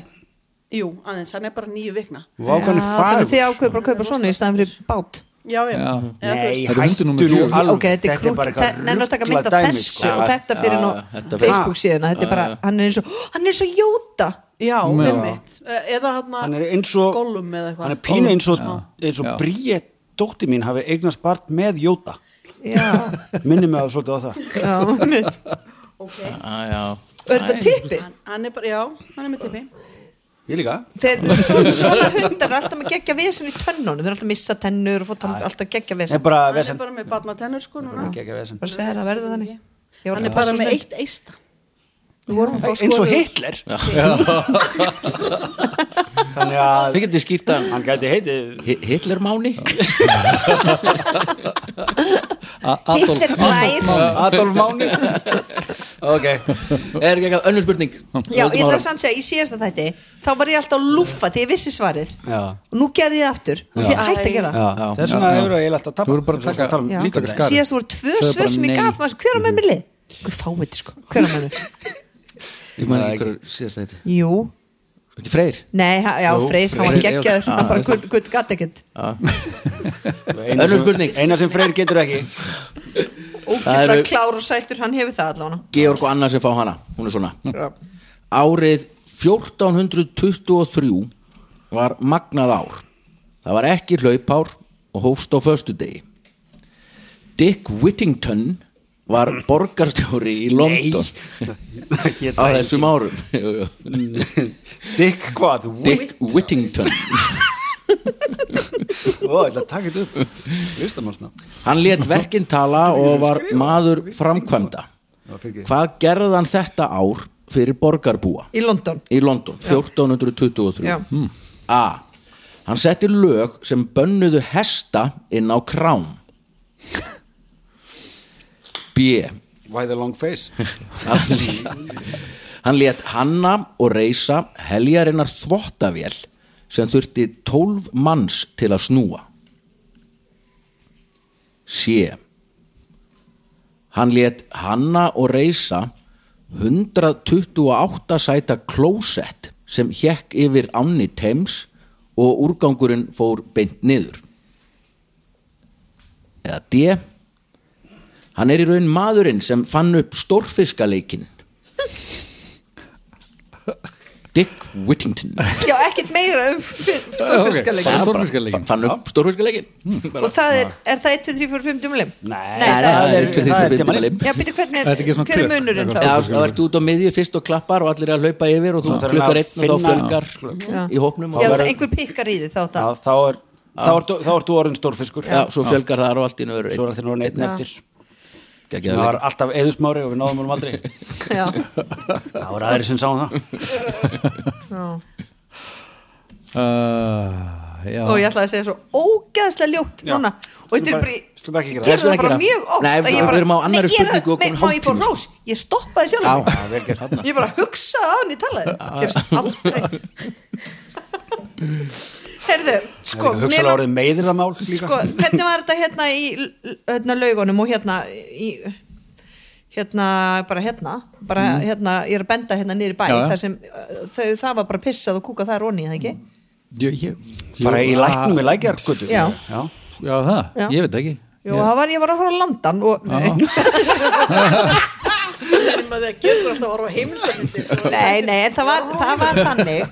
Jú, aðeins, hann er bara nýju vikna
Vákan
Já,
er
Þannig að
fagur
þið ákveður bara að kaupa svona í staðan fyrir bát
Já,
Já.
já, Eða, þú
Nei,
Þetta
veist,
er hundur
hættu
númer
nú
fjögur.
alveg
Ok, þetta er
bara
krútt
eitthvað
Nenna að taka mynd af
ruglað dæmi,
þessu
sko.
og þetta
Já,
fyrir nú
já, þetta fyrir-
Facebook síðuna Þetta er bara, hann er eins og, hann er eins og jóta
Já,
Já.
einmitt Eða hann
Hann er eins og
Gollum eða eitthvað
Hann er pínu eins og, eins og
Já.
bríett dótti mín hafi eignast barn með jóta
Já,
Minni mig að svolítið á það
já, mitt
Ok
Ah, já, já.
Og er þetta tippi?
hann, hann er bara, já, hann er með tippi
Ég líka
Þeir, svona, svona hundar er alltaf með geggja vesen í tönnunum Þeir er alltaf að missa tennur og fótt alltaf geggja
Ég
vesen
bara
Hann er
vesen
bara með barnatennur sko núna
Ekki ekki vesen
Bara segja þér að verða þannig Ég
Hann er
var alltaf
bara
svo
með
snögg.
eitt eista Við vorum að fá
Eins og
skoðun-
Hitler Þannig að
Við getum skýrt að
hann gæti heitið
Hitlermáni
A- Adolf,
Hitler
Adolf
blær.
Máni.
Adolf Máni Ok
Er ekki eitthvað önnur spurning?
Já, ég
Höldum
þarf
áfram.
samt að segja, í síðasta þætti þá var ég alltaf að lúffa því ég vissi svarið
Já.
og nú gerði ég það aftur og því hætti að gera það.
Já,
Já.
þess vegna hefur það eiginlega
Þú
alltaf tappa
voru bara að taka-
Já.
líka
taka
skar
skarið.
síðast voru tvö
Sagði
svör
bara
sem ég
nei.
gaf maður, hver á með mér lið? Hvað fáið þetta sko, hver á með mér?
Ég man ekki hverju síðast þetta
Jú,
Ekki Freyr?
nei, ha- já,
Jú,
Freyr, hann
Freyr,
var geggjaður
já,
hann bara
veist
gutt gut, gatt ekkert
Önnur spurning.
Einar sem Freyr getur ekki
ógislega
eru-
klár og sættur, hann hefur það allavega
Georg og Anna sem fá hana Hún er svona Árið 1423 var magnað ár Það var ekki hlaupár og hófst á föstudegi Dick Whittington var borgarstjóri í London
Það
á
geta ekki.
þessum árum Jú, jú.
Dick hvað?
Dick Whittington
Ó, ég ætla að taka þetta upp Listamannsna
Hann lét verkinn tala og var maður framkvæmda Hvað gerði hann þetta ár fyrir borgarbúa?
í London
í London 1423
Já.
Hmm. A. Hann setti lög sem bönnuðu hesta inn á krám B.
Why the long face?
Hann lét, hann lét hanna og reysa heljarinnar þvottavél sem þurfti 12 manns til að snúa C. Hann lét hanna og reysa 128 sæta klósett sem hjekk yfir ánni Thames og úrgangurinn fór beint niður. Eða D. Hann er í raun maðurinn sem fann upp stórfiskaleikin. Dick Whittington.
já, ekkert meira um stórfiskalega
Já, ok. Stórfiskaleikin.
Fann- Fann upp stórfiskaleikin.
Hmm,
og það er, er það 1, 2, 3, 4, 5 dumli?
Nei,
Nei, það
er
það er
23
tímalinn.
tímalinn.
Já, byrju, hvernig,
Er þetta ekki svona
hver er
klukk?
munurinn þá?
Já.
Já, það ert út á miðju fyrst og klappar og allir er að hlaupa yfir og þú
Svo þarf hann
klukkar
að
einn og þá
finna-
fjölgar í hópnum
Já,
og
það einhver pikkar í því þá
Já,
það
þá er þá ertu- þá ertu orðin stórfiskur
Já, svo fjölgar þar og allt í nöður
Svo er þetta orðin einn eftir Það
Gekkjaður
var alltaf eðusmári og við náðum honum aldrei
Já.
Það voru aðri sem sáum það
Já.
Uh, já.
og ég ætlaði að segja svo ógeðslega ljótt
Já.
núna og þetta er
Skulum
bara,
bara- skulum ekki
það. Skulum
gerðu
gera
það
ekki
bara
gera það.
mjög oft
Nei,
að ég
við
bara-
erum á annarri
Nei, ég er-
spurningu og
nei,
komin
Má ég fá
hálftíma, sko.
rós, ég stoppaði sjálf
Já.
mig.
Það er vel gert þarna
ég bara hugsaði að hann í talaði gerist aldrei herðu,
Það
sko,
er hugsalega
mér-
orðið meiðirðamál líka
sko hvernig var þetta hérna í l- hérna laugunum og hérna í, hérna, bara hérna bara
Mm.
hérna, ég er að benda hérna niður í bæ
Já, já.
þar sem uh, þau, það var bara pissað og kúkað þar onni, eða ekki?
ég, ég,
Bara í
Jú,
læknum í lækjarkutu
Já.
ah, Já, það,
Já.
ég veit ekki
Jú, það var, ég var að horfa á landan og, nei,
Það getur alltaf að orfa heimildamindir
nei, nei, en það var, það var þannig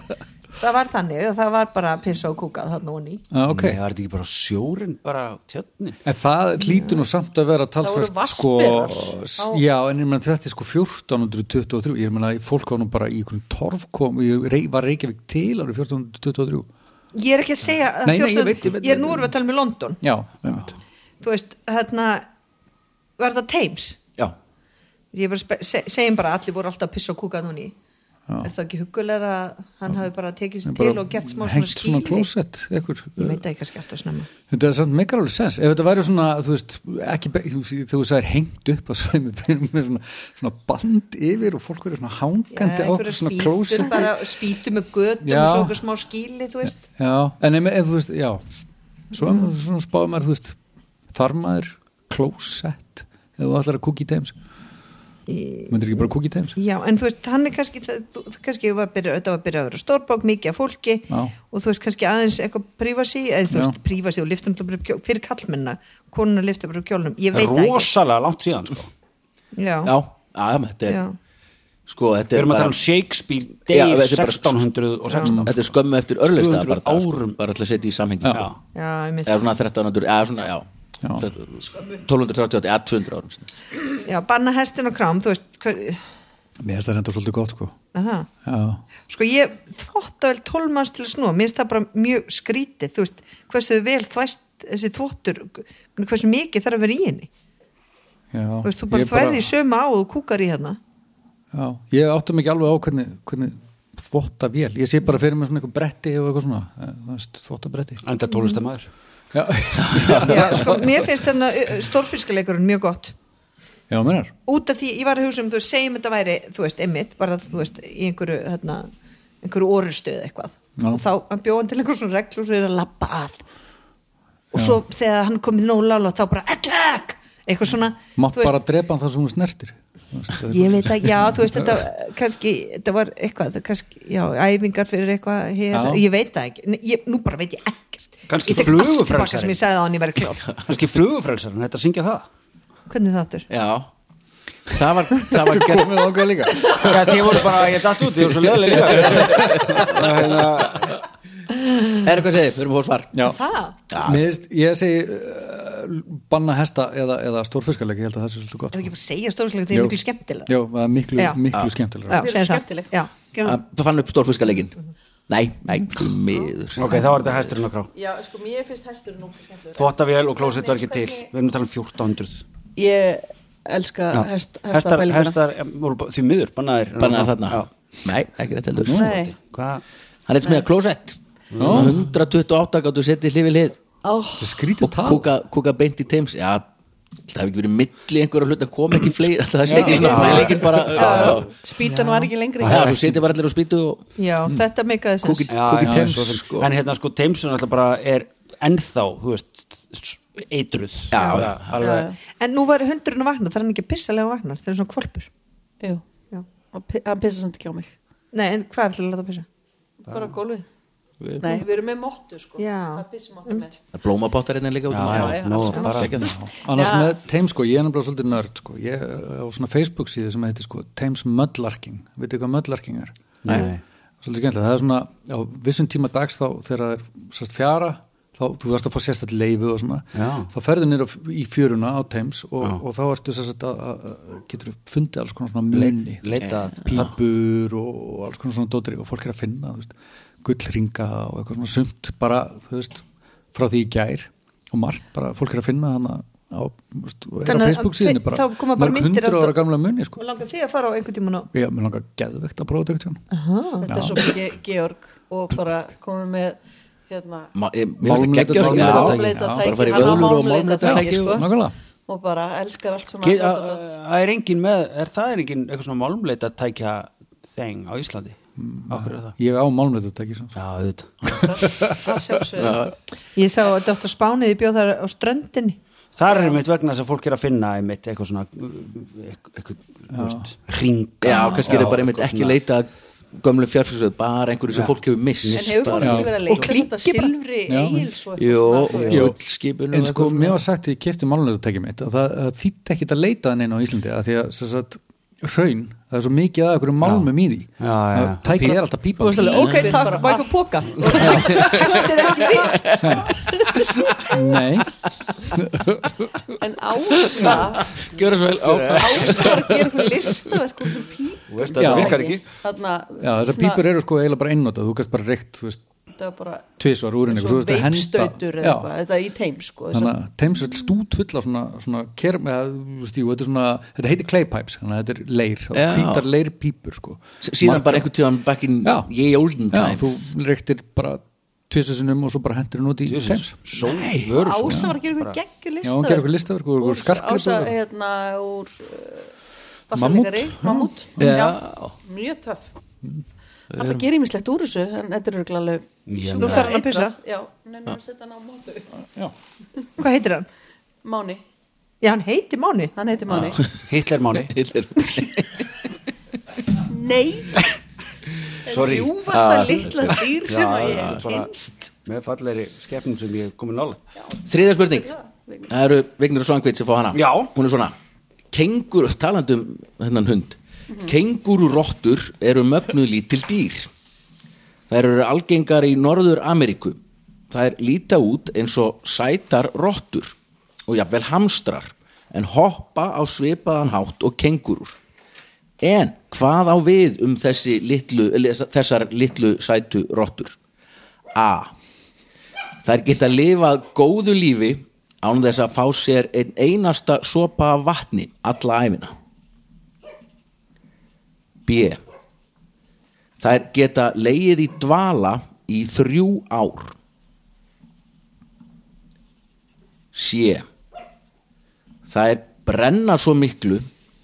það var þannig, að það var bara pissa og kúkað þarna onni
ah, ok
Nei, var þetta ekki bara sjórin bara á tjötni
En það hlýtur nú samt að vera talsvert
voru
sko,
vatnsberar
s- já, en ég meina þetta er sko 1423, ég meina fólk var nú bara í einhvern torf kom, ég rey, var Reykjavík til árið 1423
ég er ekki að segja að
Nei, nei, ég veit, ég veit,
ég er nú erum við að tala um í London
Já, með mitt
þú veist, hérna var þetta Thames
Já,
ég bara spe- se, segjum bara að allir voru alltaf að pissa og kúka núni er það ekki hugulega að hann hafi bara tekið sér til og gert smá svona
hengt svona
skýli
klósett einhver,
ég veit það ekki kannski alltaf snemma
Þetta er samt meikar alveg sens ef þetta væri svona, þú veist, ekki be- þú- þegar þú sagðir hengt upp að svæmi fyrir með svona, svona band yfir og fólk verður svona hangandi
Já,
á
einhverjar
okkur svona
spýtur
klósett
bara, spýtu með götum
Já.
og svo okkur smá skýli þú veist
Já, en ef, ef þú veist, já svo er maður svona spáði maður, þú veist þarmaður, klósett ef þú ætlar að kúki í teims myndir ekki bara kúki í teims
Já, en þú veist, hann er kannski, það, þú, þú- kannski var byrja, þetta var byrjað að vera stórbók, mikið af fólki
Já.
og þú veist kannski aðeins eitthvað prífasi, eða
Já.
þú veist, prífasi og liftum bara upp kjól, fyrir kallmenna, konuna liftum bara upp kjólnum, ég veit það ekki.
rosalega langt síðan sko.
Já,
já, já, þetta er
já,
sko, þetta
við
er
erum að
bara
tala um Shakespeare
Já,
Day
þetta er bara-
1616
þetta er skömmu eftir örlista
200
bara,
árum.
bara til að setja í samhengi
Já.
sko.
já, ég
eða svona 13 árum eða svona, já,
Já.
1238 eða 200 árum sinni.
Já, banna hestin og krám, þú veist, hver,
Mér finnst það reynda svolítið gott, sko
aha.
Já,
Sko ég þvotta vel tólmanns til að snúa, mér finnst það bara mjög skrítið, þú veist, hversu vel þvæst þessi þvottur, hversu mikið þarf að vera í henni.
já
Þú veist, þú bara þværði í sömu á og þú kúkar í hérna.
Já, ég átta mig ekki alveg á hvernig, hvernig þvotta vél, ég sé bara fyrir mig svona eitthvað bretti og eitthvað svona, eh, þú veist, þvotta bretti
en þetta er tólustamæður
Já,
Já, sko, mér finnst þarna uh, stórfiskaleikurinn mjög gott
já mennar
út af því, ég var að hugsa um, þú veist, segjum þetta væri þú veist, emmitt, bara þú veist í einhverju, hérna, einhverju orustuð eitthvað
Já.
og þá hann bjóðan til einhver svona reglur og er að labba að og svo þegar hann komið nóg lála þá bara attack, eitthvað svona
Mátt
þú veist,
bara drepa hann þar sem hún snertir Þú veist, það er-
ég veit að, já, þú veist, þetta var kannski, þetta var eitthvað, það kannski já, æfingar fyrir eitthvað hér,
Já.
ég veit það ekki, Nei, ég, nú bara veit ég ekkert
Kannski
Ég tek allt tilbaka
flugufrelsarinn.
sem ég sagði á hann ég væri klór,
kannski flugufrelsarinn, þetta er að syngja það
hvernig þáttur?
já, það var það var gert
Komið ákveð líka
Já, þið voru bara, ég datt út, þið voru svo leðilega líka Og hérna,
er eitthvað að segja, við erum hóð svar
Já,
það?
Mér finnst, ég segi uh, banna hesta eða, eða stórfiskaleg ég held að það sé svolítið gott
Ef
sko.
ekki bara segja stórslega, það er
Jú.
miklu skemmtilega
Já, það er miklu,
Já.
miklu
Já,
skemmtilega
Þér er
segja
skemmtilegt.
það Já, gerum það.
það fann upp stórfiskalegin nei, nei, því miður
ok, þá er þetta hesturinn að krá
já, sko, mér finnst hestur nú skemmtilega
Þvottavél og klósett var ekki til Við erum að tala um 1400
ég elska
Já.
hest,
Hestar,
hestapælinguna
hestar, ja, voru bara- því miður, bannaðir
bannaði þarna, nei, ekki rétt heldur
Nei.
Hvað?
hann er sem hefði klósett Svona 128 gáttu setið hlifið hlið
oh,
Þetta er skrítið
og
tal
kúka, kúka beint í teims já, það hefði ekki verið milli einhverja hlut að koma ekki fleira, það sé ekki svona pælingin bara, já, já,
spýtan var ekki lengri
já, svo setið bara allir og spýtu og
Já, þetta meikaði sens
Kúkið-
Já,
Cookie
já,
Thames,
svo sem-
sko.
En hérna sko, Thamesun alltaf bara er ennþá, þú veist s- eitruð
Já,
Bara
já.
alveg-
En nú væri hundurinn að vakna, það er hann ekki pissalega að vakna Það er svona kvolpur
Jú.
Já.
Og pi- hann pissa samt ekki á mig
Nei, en hvað er til að láta pissa?
bara á gólfið Nei, við erum með móttu sko
Já.
Það pissum móttu með
Það er blómapottar hérna líka út um
Já,
allt.
já,
já,
nú
alls konar.
bara
Geggjað.
Annars
Já.
með Thames sko, ég er nefnilega svolítið nörd sko. Ég er á svona Facebook síðu sem heitir sko, Thames Mudlarking, veitir hvað Mudlarking er?
Nei.
Svolítið skemmtilega, það er svona á vissum tíma dags þá þegar það er sérst fjara, þá þú verðst að fá sérstætt leifu og svona,
Já.
þá ferðu nýra í fjöruna á Thames og, og þá ertu sérstætt að, að getur fundið alls konar svona munni,
Eh.
leita að
pípur og alls konar svona dótri og fólk er að finna, þú veist, gullringa og eitthvað svona sumt bara, þú veist, frá því í gær og margt bara, fólk er að finna hana á, þú veist, og er á
Þannig að-
Facebook síðinni bara,
þá koma bara myndir
hundra
af-
ára gamla munni,
Og
sko.
langar þig að fara á einhvern tímann á
Já, mér langar geðvegt að prófa þetta eitthvað.
Þetta er svo mikið Georg og bara komið með hérna
Ma- ég- mér finnst það
Málmleitar-
geggjað, sko. Já,
málmleitartæki.
bara fara í
Hann á
vöðlur og
málmleitartæki,
málmleitartæki
sko.
og-
Nákvæmlega.
og bara elskar allt svona
Ge- a-
dotadot.
a- Það er engin með, er það er engin eitthvað svona málumleita tækja þeng á Íslandi
Mm,
Áhverju það?
Ég á málmleitartæki samt.
Já, auðvitað
Að sjálfsögðu.
Ég sá að Dr. Spániði bjóð þar á ströndinni
Það er einmitt vegna þess að fólk er að finna einmitt eitthvað svona eitthvað, eitthvað þú veist, ringa
já, kannski er það bara
eitthvað
einmitt ekki
svona-
leita að gömlu fjárfyrsöðu, bara einhverju sem fólk hefur mist
En hefur fólk
bara.
ekki verið að leika
klíki
þetta silfri
Já.
eils og
Jú,
eitthvað
og
svona?
Jú.
gullskipun og
En sko,
eitthvað
mér var sagt því ég kefti málunleitartæki mitt að það það þýtti ekkit að leita hann einu á Íslandi að því að sem sagt, hraun, það er svo mikið að einhverjum málmum í því
Já, já, já.
tæki er alltaf
Þú
pípa
veist alveg, ok, takk, má ekki póka Þetta er ekki við
Nei,
En ása
Gjör það svo vel
Ásar gerir eitthvað listaverk úr þessum pípum
Þú veist, þetta
Já.
virkar ekki
Þarna
já, þessar pípur eru sko eiginlega bara einnótað, þú kannast bara reykt, þú veist
þetta var bara
tvisvar úr henni
eins
eitthvað, svo
og
er þetta að henda- Já.
veipstautur eða eitthvað, þetta er í teim sko þessar-
þannig að Thames er stútfull af svona, svona kerm, eða, þú veist, jú, þetta, er svona, þetta heitir clay pipes, þannig að þetta er leir
Já.
hvítar leirpípur sko.
S- síðan
Margar-
bara einhvern tíðan back in
Já.
ye olden
Já, þú
times
reyktir bara tvisasunum og svo bara hendur hún út í Thames
Sól, vörur svona.
Ása var að gera eitthvað geggjur listaverk
Já, hún gerði eitthvað listaverk og- og
Úr-
skartgripur
Ása
og-
hérna úr bassalegari, mammút
Hm.
Já.
mjög töff Alltaf gerir ímislegt úr þessu en þetta er örugglega alveg
Nú þarf hann að pissa.
Já, neina að setja hann á mótu
Já,
Hvað heitir hann?
Máni,
Já, hann heitir Máni
hann heiti Máni
Hitler máni
Hitler.
Nei,
Sorry
Ljúfasta litla dýr sem að ég
þetta er bara-
kynst
Með fallegri skefnum sem ég hef komið nála
þriðja spurning það eru Vignir og Svangveit sem fá hana
Já.
hún er svona kengur, talandi um þennan hund kengururottur eru mögnu lítil dýr þær eru algengar í Norður Ameríku þær líta út eins og sætar rottur og jafnvel hamstrar en hoppa á svipaðan hátt og kengurur En hvað á við um þessi litlu, þessar litlu sætu rottur? A. Þær geta lifað góðu lífi án þess að fá sér einn einasta sopa af vatni alla æfina. B. Þær geta leið í dvala í þrjú ár. C. Þær brenna svo miklu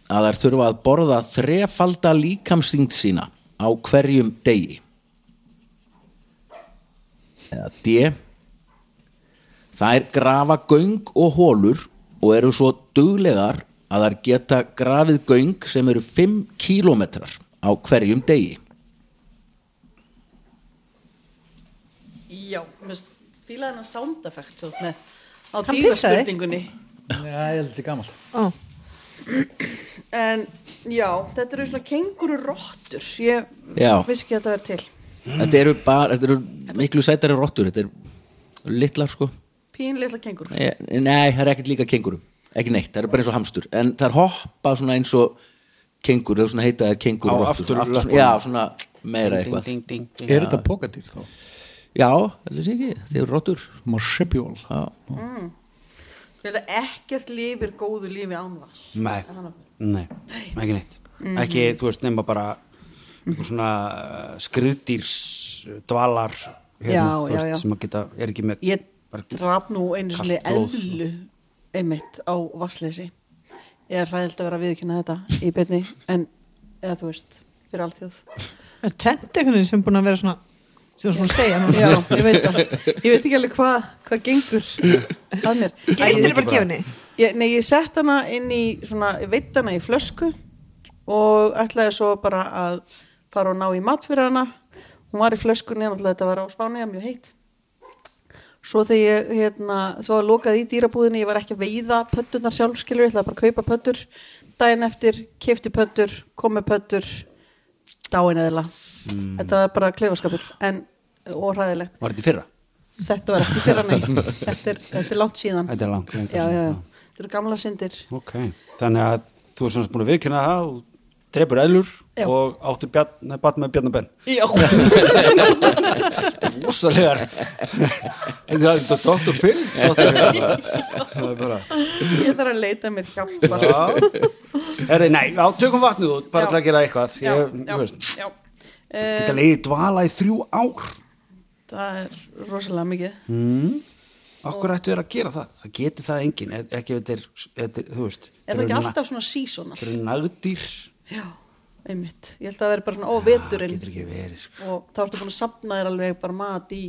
að þær þurfa að borða þrefalda líkamsþyngd sína á hverjum degi. Eða D. Þær grafa göng og hólur og eru svo duglegar að þær geta grafið göng sem eru 5 kílómetrar á hverjum degi.
já, mest fílaði hann að sound effect svo með á
Hann pissaði.
dýraspurningunni
ég held þessi gamalt
Ó,
En já, þetta eru svona kenguru rottur Ég
Já.
vissi ekki að þetta er til
Þetta eru, bara, þetta eru miklu sætari rottur, þetta eru litlar sko.
Pínleitla kengur
Eh, Nei, það er ekkert líka kengurum, ekki neitt, það eru bara eins og hamstur. En það er hoppa svona eins og kengur, það er svona heita það kengur
Á aftur- löppunum.
já, svona meira eitthvað.
ding, ding, ding.
Er þetta pokadýr þá?
Já, þetta sé ekki, þeir eru rottur.
Marsupial
Já.
Þetta ekkert lifir góðu lífi ánvas
Nei, nei, ekki neitt
Mm.
Ekki, þú veist, nema bara einhver svona uh, skriðdýrs uh, dvalar hérna,
Já,
þú
já,
veist,
já.
sem að geta, er ekki með
Ég
bara-
draf nú einu
Kalt
sinni
blóð.
eðlu einmitt á vassleysi Ég er hræðilt að vera að viðkynna þetta í beinni en eða þú veist, fyrir alþjóð
það er tvent einhvern veginn sem er búin að vera svona sem er svona að segja núna.
Já, ég veit það Ég veit ekki alveg hvað hva gengur að mér
Gætir bara gefinni
ég, Nei, ég sett hana inn í svona, ég veitt hana í flösku og ætlaði svo bara að fara og ná í mat fyrir hana hún var í flöskunni, náttúrulega þetta var á Spáni það var mjög heitt svo þegar ég, hérna, svo að lokaði í dýrabúðinni ég var ekki að veiða pötturnar sjálf skilur, ég ætlaði bara að kaupa pöttur daginn eftir, kefti pöttur, kom með pöttur dáin eðla
Mm.
þetta var bara kleifaskapur en, og hræðileg
Var þetta í fyrra?
þetta var ekki fyrir hana þetta er, þetta er langt síðan
Þetta er langt langt
já, já,
síðan,
já.
já.
þetta eru gamla syndir
Ok, þannig að þú er svona búin að viðkynna það og trefur eðlur
Já.
og áttu bjarn, bjarn með Bjarnar Ben
já,
Rósalegar Það er þetta Dr. Phil Dr. Það er bara
ég þarf að leita mér hjálpar
Er þið, nei, á tökum vatnið út bara
Já.
til að gera eitthvað
já,
Ég,
já,
þú veist,
já.
Þetta
Um,
leiði dvala í þrjú ár
það er rosalega mikið
Mm, Akkur ættu þér að gera það? Það getur það enginn, e- ekki ef þetta er, þetta er þú veist
er það ekki alltaf svona seasonal
Þetta eru nagdýr
já, einmitt, ég held að það veri bara svona ó, veturinn
Getur ekki verið, sko
og þá ertu búin að sapna þér alveg bara mat í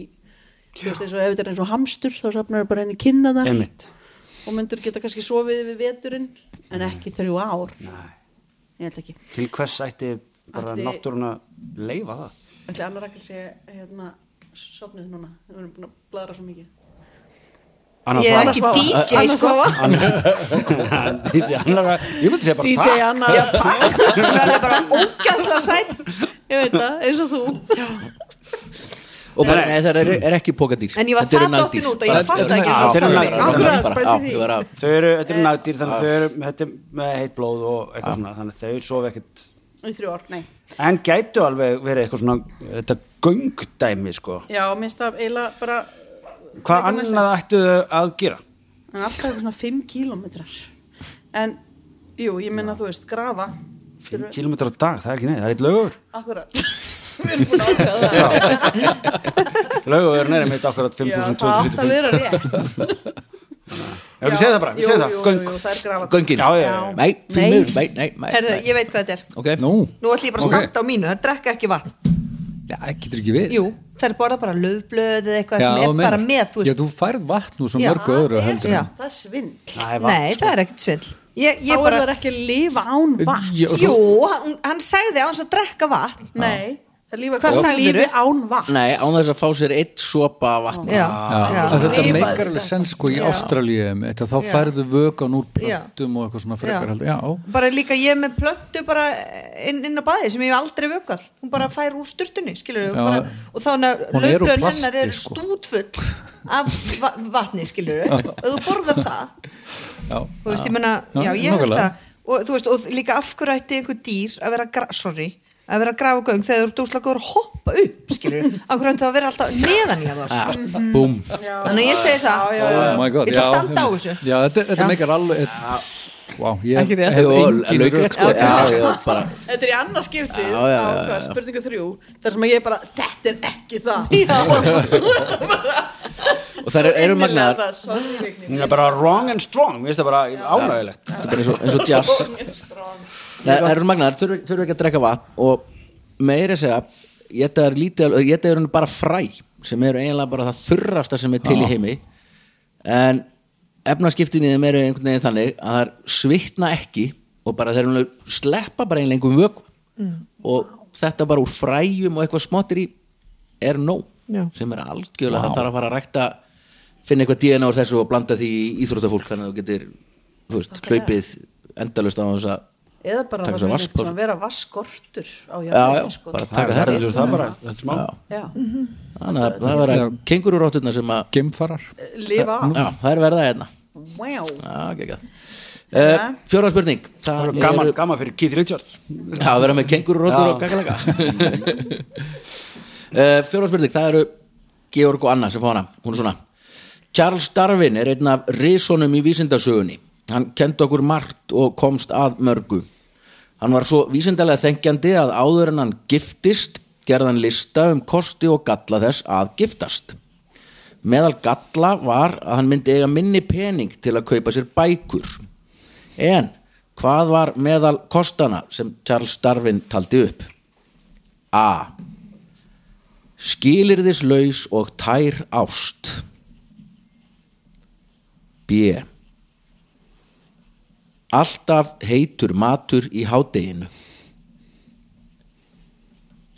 þú veist eins og ef þetta er eins og hamstur þá sapnar þér bara henni kynna það
Emmitt
og myndur geta kannski sofið við veturinn en
Mm.
ekki þrjú ár ég held ekki
Til hvers ætti bara
Ætli-
náttúrun að leifa það?
Ætli annar rækkel sé hérna sopnið núna, við erum búin að bladra svo mikið
Annars
Ég er
var-
ekki
Svava.
DJ
Anna
sko
Svava.
DJ Annar Ég myndi segja bara
DJ
takk
Anna
Já, takk Hún er alveg bara ógæðslega sætt
Ég veit það, eins og þú
Og bara, nei, það er, er ekki pokadýr.
En ég var það dottin út og ég fatt
eru
ekki að
nagdýr. Þetta eru
það
nagdýr.
var-
Akkurat,
bara,
bæti
já,
því.
ég var að
Þau eru, þetta eru nagdýr þannig að þau eru þetta er með heitt blóð og eitthvað svona þannig að þau sofa ekkert
í þrjú ár, nei
en gætu alveg verið eitthvað svona þetta göngdæmi sko
já, minnst það eiginlega bara
hvað annað ættu þau að gera
en alltaf eitthvað svona 5 kílómetrar en, jú, ég minna þú veist grafa,
5 km á dag, það er ekki neð, það er eitt lögur
akkurat við erum búin að ákveða það
lögur er neðri mitt akkurat
Já, það átt að
5275
vera rétt
já, við segja það bara, við segja það, göng
jú, jú, það er grafa
Göngin
já, já, já, já.
Nei, því
Nei.
miður, nei, nei, nei,
Herðu,
nei.
ég veit hvað þetta er
Ok,
Nú,
Nú ætlum ég bara að
Ok.
standa á mínu, það drekka ekki vatn
já, getur ekki verið
Jú, þær borða bara löfblöð eða eitthvað sem
þú
er
meinar.
bara með þú
Já,
veist.
þú færð vatn úr svo
Já,
mörgu öðru heldur
Já.
en-
það er svindl
Æ, vatn,
Nei,
sko.
það er ekkert svill Ég,
þá
ég
er
bara,
það ekki að lifa án vatn
Já,
jú, hann, hann sagði á hans að drekka vatn
nei, það lífa
Hvað sagðirðu?
lífi án vatn
nei, án þess að fá sér eitt sopa af vatni
Já,
Já,
já,
þetta
Skrifaðu
meikar
þetta.
alveg sens sko í
Já.
Ástralíu þetta, þá
Já.
færðu vökan úr
Já.
plöntum og eitthvað svona frekar
Já.
heldur, já,
Bara líka ég með plöntu bara inn, inn á baði sem ég hef aldrei vökað Hún bara fær úr sturtunni, skilur við
Já.
bara, Og þannig
Hún
að
er úr
löfblöðin
plasti,
hennar er
sko.
stútfull af va vatni, skilur við Og þú borðar það
já,
þú veist, ég menna,
Já,
já, ég held
nákvæmlega.
að og þú veist, og líka af hverju ætti einhver dýr að vera, gra- sorry, að vera að grafa göng þegar þú ert úslega góður að hoppa upp skilur, af hverju ætti það að vera alltaf neðan í það
ah, Búm
þannig að ég segi það
já,
oh my god
Ég ætla að
já,
standa á
einmitt.
þessu.
já, þetta, þetta meikar alveg wow, ég
Ekki rétt.
hef engin
Og laukrétt sko
rök-
Já, já, bara
Þetta er í annað skiptið
Já,
á
já, já,
hvað,
já.
spurningu þrjú þar sem að ég bara, þetta er ekki það
Og þær eru magnaðar.
magnaðar
Hún er bara wrong and strong, mér finnst það bara ánægilegt
Þetta er bara eins og, eins og jazz Nei, Það eru magnaðar, þurfa þurfa ekki að drekka vatn og meira að segja ég það er lítið, ég það eru bara fræ sem eru eiginlega bara það þurrasta sem er til í heimi en efnaskiptin í þeim eru einhvern veginn þannig að það er svitna ekki og bara þeir eru sleppa bara einlega einhvern vöku og þetta bara úr fræjum og eitthvað smottir í er nóg
Já.
sem er algjörlega það þarf að fara að rækta finna eitthvað DNA úr þessu og blanda því í íþróttafólk þannig að þú getur þú veist, hlaupið endalust á þess að
Eða bara
Taka
það
sér
er
vatnspásu.
eitthvað að vera vaskortur á
Já, já,
jarðinni, sko.
bara
Það
taka
er
þetta
heldur það bara, þetta er smá
Já.
Já,
Þannig að það var að
Já.
kengururótturna sem að
geimfarar
lifa af
Já, það er verða hérna
Wow.
Já, geggjað. Eh, Fjóra spurning Það
Svo Gaman, gaman fyrir Keith Richards
Já, að vera með kengururóttur
Já.
og kakalaka Eh, Fjóra spurning, það eru Georg og Anna sem fá hana Hún er svona Charles Darwin er einn af risonum í vísindasögunni Hann kendi okkur margt og komst að mörgu Hann var svo vísindalega þengjandi að áður en hann giftist gerði hann lista um kosti og galla þess að giftast Meðal galla var að hann myndi eiga minni pening til að kaupa sér bækur. En hvað var meðal kostana sem Charles Darwin taldi upp? A. Skilirðislaus og tær ást. B. Alltaf heitur matur í hádeginu.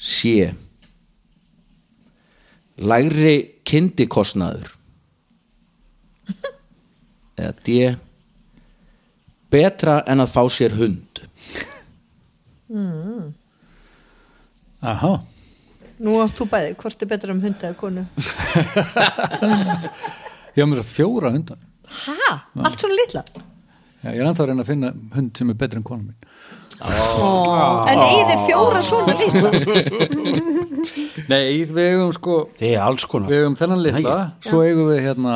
C lægri kyndikostnaður eða D betra en að fá sér hund
aha
nú átt þú bæði, hvort er betra um hunda eða konu
ég hef mér svo fjóra hunda
ha, allt svona litla
já, ég er ennþá að reyna að finna hund sem er betri en konum minn
en eigið þið fjóra svona litla
nei, við eigum sko
Þið er alls konar
við eigum þennan litla, svo eigum við hérna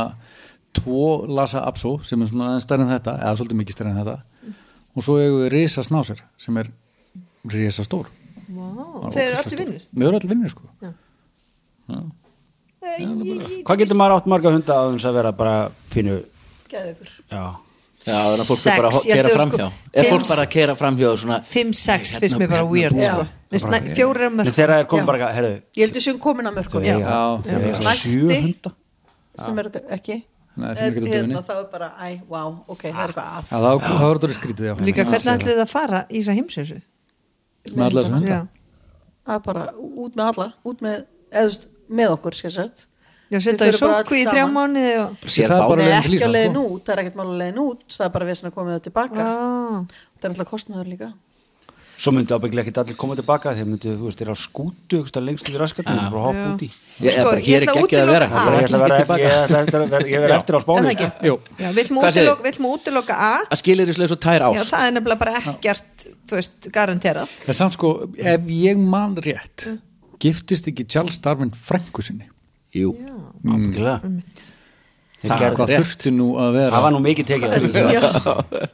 tvo lasa apso sem er svona aðeins stærri en þetta, eða svolítið mikið stærri en þetta og svo eigum við risa snásir sem er risa stór Ah.
þau eru allir vinnur
við erum allir vinnir sko
Æ, ég- ég-
Hvað getur maður átt marga hunda að þess að vera bara pínu
Gæðu ykkur
Já,
Já, þannig að fólk
Sex,
er bara að
ég held
kera
ég
framhjá
sko-
er
fimm-
fólk bara að kera framhjá svona
5-6
Hérna-
finnst mér bara
hérna- Já.
weird sko. Mér finnst næ- fjóra er
en
mörg
þeirra er komið bara, herru
Ég held við séum komin að mörgum
Þeir
Já.
eiga
Já.
þeir eiga
Næsti.
sjö hunda
sem er ekki
Nei, sem er ekki út í
hérna,
döfinni.
þá er bara, æ, wow, ok, það er eitthvað að
Já, það það var þetta skrítið, já.
líka
Já,
hvernig
já.
ætlið þið að fara í þess að heimsessu
Hérna Með alla þessu hunda.
já,
það er bara út með alla út með, eða þú veist, með okkur sér sett
já setja þau sótkví í þrjá mánuði og
sér
Það er bara-
bát
Nei,
leiðin til
ekki á
Íslands,
leiðin
sko.
út, það er ekkert mál á leiðin út það er bara við sem að koma þau tilbaka
Ah.
það er alltaf kostnaður líka
svo myndi ábygglega ekki allir koma tilbaka þeir myndi, þú veist, þeir á skútu einhvers staðar lengst yfir raskatum og hoppa út í
Ég,
Sko,
sko, bara,
ég
hér er
ætla að
geggjað að vera,
útiloka-
það er
Ég ætla
ekki
að vera
ekki tilbaka
eftir- ég ætla eftir að vera- ég verð eftir á
Er það
spáni
ekki?
sko.
Jú.
Já, við ætlum
Hvað segir-
útiloka- við ætlum að útiloka A
að skilirisleis og tær
Já,
ást
það er nefnilega bara ekkert, þú veist, garanterað
En samt sko, ef ég man rétt
Mm.
giftist ekki Charles Darwin frængu sinni
Jú,
Ábyggilega. Þeir
Það-
gerðu
Hvað
rétt.
þurfti nú að vera
það var nú mikið tekið þessu.
Já,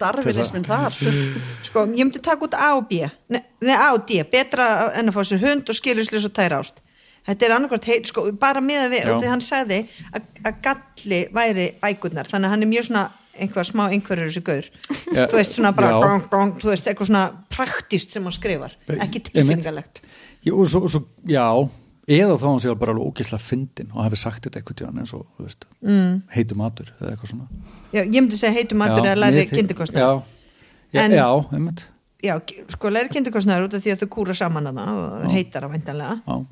darfinismin þar
Sko, ég myndi taka út A og B Nei, nei, A og D, betra en að fá sér hund og skiljurslis og tæra ást Þetta er annarkvært heit, sko, bara með að við
Já.
og því hann sagði að, að galli væri bækurnar, þannig að hann er mjög svona einhver smá einhverjur þessu gaur
Já,
þú veist svona bara
já.
brong, brong, þú veist eitthvað svona praktist sem hann skrifar ekki tilfinningalegt
Jú, og svo, svo, já, eða þá hann sé bara alveg ógislega fyndin og hafi sagt þetta eitthvað til hann eins og, þú veist, mm. heitu matur eða eitthvað svona
já, ég myndi segja heitum matur
Já,
eða
mér
læri
finnst-
kindikostnað
Já, já,
En-
já einmitt
já, sko læri kindikostnaður út af því að þau kúra saman að það og
Já.
heitar að væntanlega
Já,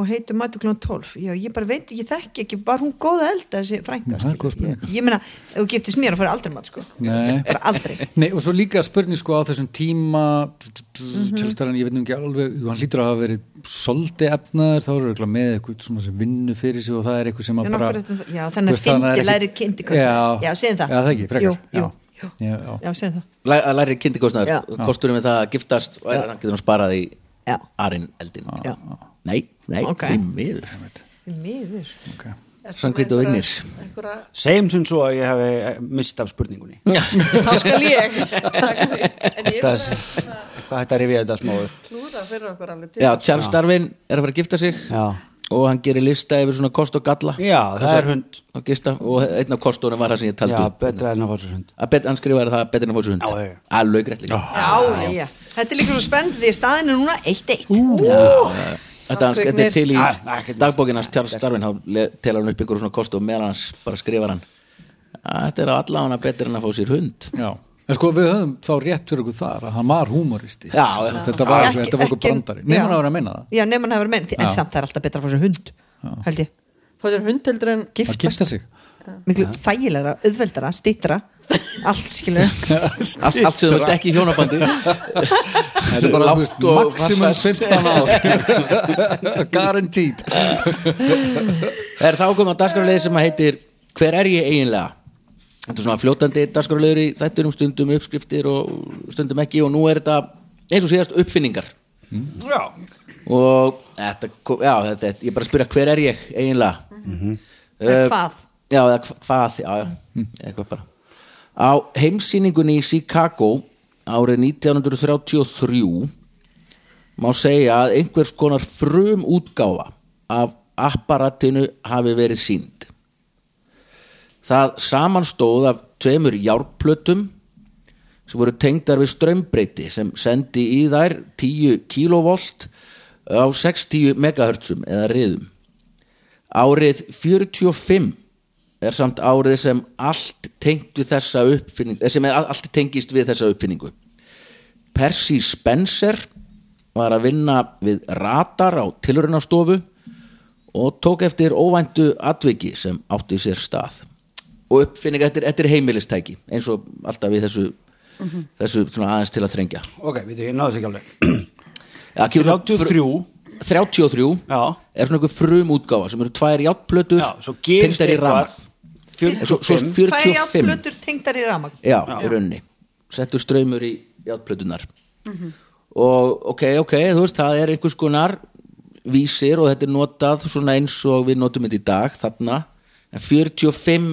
og heitum matur klón 12 já, ég bara veit ekki, þekki ekki, var hún góð að elda þessi frænka,
það er góð
skilur?
spurning.
ég, ég meina, ef þú giftist mér að fara aldrei mat sko,
Nei.
bara aldrei
Nei, og svo líka spurning sko á þessum tíma
Mhm.
mm -hmm. ég veit nú ekki alveg jú, hann lítur að hafa verið soldi efnaður þá eru eitthvað með eitthvað svona sem vinnu fyrir sig og það er eitthvað sem að
En
bara
okkur er þetta- já, þannig að
Þú veist, þannig
fyndi
er
læri
ekki-
kyndikostnaður.
Já,
Já, segjum það.
Já, það ekki, frekar
Jú,
já.
jú, jú.
Já, já.
já, segðu það
Læ- að læri
Já.
kynntikostnaður kosturum við það að giftast og er, þannig getur hún sparað í
Já.
arinn eldin
Já.
nei, nei,
Ok.
því miður
Því miður,
Okay.
Sangrit og vinnir
einhverja
segjum sem svo að ég hef eh, mist af spurningunni
þá skal ég Takk fyrir. en ég
þetta,
er
er- hvað þetta rifið þetta smá upp?
klúra fyrir okkur alveg til
Já, Charles Darwin er að fara að gifta sig
já,
og hann gerir lista yfir svona kost og galla
já það er hund
að gista og einn af kostunum var það sem ég taldi
já,
upp.
betra en að fá sér hund
að bet, hann skrifaði það betur en að fóra svo hund
Já, já, Oh. já.
alveg greitt líka
já, já þetta er líka svo spennt því að staðin er núna 1-1
þetta, hans, þetta er til í
Ah, ekkert mál.
dagbókinans Charles Darwin þá le- telur hann upp einhverjum svona kost og meðan hans bara skrifar hann að þetta er allavega betur en að fá sér hund
Já. En sko við höfum þá rétt fyrir okkur þar að hann var húmoristi
Já,
Sem
já.
sagt, þetta var,
Ekki-
þetta var okkur
ekki-
brandari
já.
Nei, hann var að meina það
já, nefnum hann hefur meina, en
Já.
samt það er alltaf betra að fá sér hund held ég,
fóttir hundeldur en
að
giftast
gifta sig
miklu þægilegra, auðveldara, stýttra allt skilur
allt, allt sem þú veist ekki í hjónabandi
Þetta er bara, þú veist,
Lágt og
maximum
farsælt.
15 ár Guaranteed
er þá komið á dagskráleið sem að heitir hver er ég eiginlega þetta er svona fljótandi dagskráleiður í þættunum stundum uppskriftir og stundum ekki og nú er þetta eins og síðast uppfinningar
já,
og þetta, kom- já, þetta, þetta ég er bara að spyrja hver er ég eiginlega
Eða hvað?
já, eða hva- hvað, já, já, eitthvað bara á heimsýningunni í Chicago árið 1933 má segja að einhvers konar frum útgáfa af apparatinu hafi verið sínd það samanstóð af tveimur járplötum sem voru tengdar við strömbreyti sem sendi í þær 10 kilovolt á 60 megahertzum eða riðum. Árið 45 er samt árið sem allt tengt við þessa uppfinningu, eh, sem er allt tengist við þessa uppfinningu. Percy Spencer var að vinna við radar á tilurinnastofu og tók eftir óvæntu atviki sem átti sér stað og uppfinning eftir, eftir heimilistæki eins og alltaf við þessu þessu svona aðeins til að þrengja
ok, við ég náðu þess ekki alveg
ja, kemur svona
33.
fr- 33
Já.
er svona einhver frum útgáfa sem eru tvær játplötur
já, svo gerist
í rama svo, svo
45
tvær
45
játblötur tengdar í ramag
já,
Já.
í rauninni settur ströymur í játplötunar
Mhm.
og ok, ok, þú veist það er einhvers konar vísir og þetta er notað svona eins og við notum þetta í dag þarna, en 45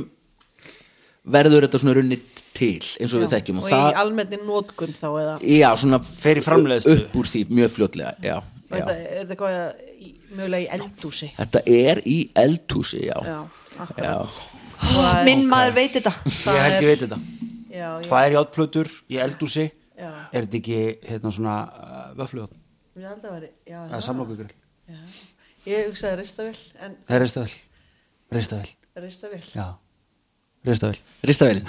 verður þetta svona runni til eins og við þekkjum
og,
og,
í
það,
almenni nótkun þá eða
já, svona
Fer í framleiðslu.
upp úr því mjög fljótlega, já,
og
já.
þetta er þetta hvað í- mögulega í eldúsi
þetta er í eldhúsi, já,
já, akkurat.
já.
Það er-
minn maður veit þetta
ég held ég veit þetta
já, já,
tvær játplötur í eldúsi
Já.
er þetta ekki hérna svona uh, vöfluhjótt
ég held að væri já,
eða
já.
samlokugur
Já. ég hugsaði ristavel en
það er reistavel reistavel,
ristavel
já reistavel
ristavelin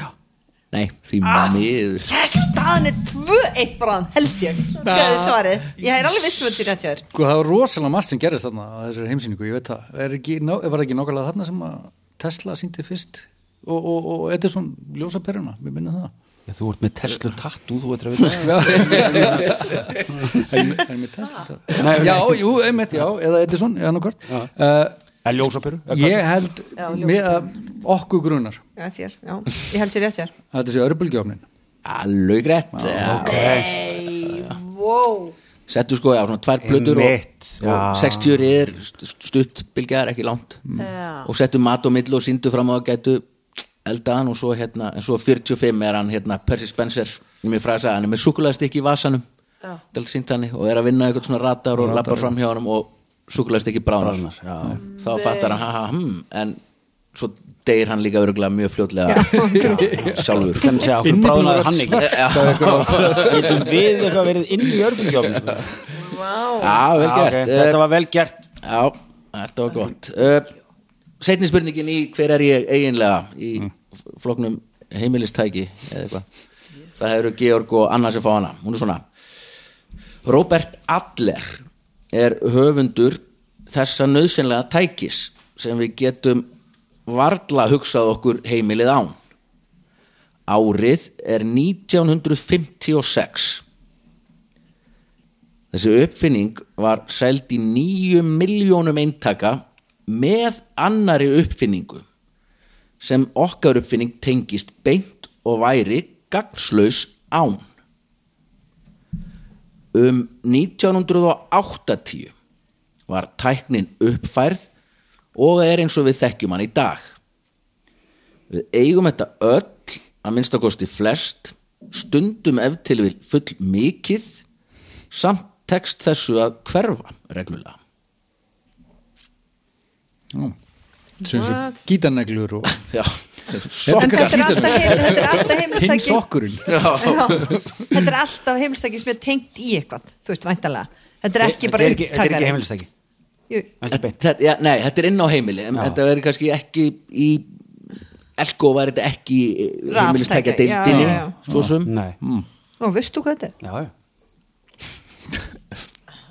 nei, því miður
yes, staðan er 2-1 bráðum held ég segðu svarið, ég er alveg vissum að þetta er tjör
Sko, það var rosalega margt sem gerist þarna að þessari heimsýningu, ég veit það. Er ekki, ná, var ekki nákvæmlega þarna sem að Tesla síndi fyrst og, og, og Edison ljósaperuna, mér minna það.
Já, þú ert með Tesla tattoo, þú ert að vita það.
Er er mér test þetta? Já, jú, einmitt, já, eða Edison, eða annarkvort uh,
En ljósaperu? eða hvað?
Ég held
Já,
með að okkur grunar
Já, þér, já, ég held sér rétt þér
að þetta sé örbulgjófnin
Alveg rétt
Ok,
Nei, wow
Settu sko á svona tvær plötur og,
Einmitt, já.
og 60 riðir stutt bylgjaðar ekki langt
Mm.
Mm.
Já.
og settu mat og mill og síndu fram á að gætu eldaðan og svo hérna en svo 45 er hann hérna Percy Spencer ég mér fræði að hann er með súkulæðstikki í vasanum til sínt hann og er að vinna eitthvað svona ratar og lappar fram hjá hann og súkulæðstikki bránar þá fattar hann ha ha hm en svo deyr hann líka örgulega mjög fljótlega sjálfur
þannig að okkur bráðnaði hann ekki Getum við eitthvað verið inn í örbyggjofnum
Já, vel gert Eh,
Þetta var vel gert
Já, þetta var gott uh, Setni spurningin í hver er ég eiginlega í
Mm.
floknum heimilistæki eða eitthvað Það eru Georg og Anna sem fá hana Hún er svona Robert Adler er höfundur þessa nöðsynlega tækis sem við getum varla hugsað okkur heimilið án Árið er 1956 Þessi uppfinning var sæld í nýju miljónum eintaka með annari uppfinningu sem okkar uppfinning tengist beint og væri gagnslaus án. Um 1980 var tæknin uppfærð og er eins og við þekkjum hann í dag. Við eigum þetta öll, að minnstakosti flest, stundum ef til við full mikið, samt tekst þessu að hverfa reglulega.
sem svo gítarneglur og
Já,
En
sokkar.
þetta er alltaf heim- þetta er alltaf
hinn
heimilstæki
sokkurinn
Já, þetta er alltaf heimilstæki sem er tengt í eitthvað þú veist, væntalega, þetta er ekki bara
Þetta er ekki- þetta er ekki heimilistæki
Jú,
Ekki beint
Þetta, já, nei, þetta er inn á heimili, en
Já.
þetta verður kannski ekki í Elko var þetta ekki
Raftækja,
heimilistækja
já,
deildinni,
já, já.
svo sem
Nei,
Ó, veistu hvað þetta er?
já, já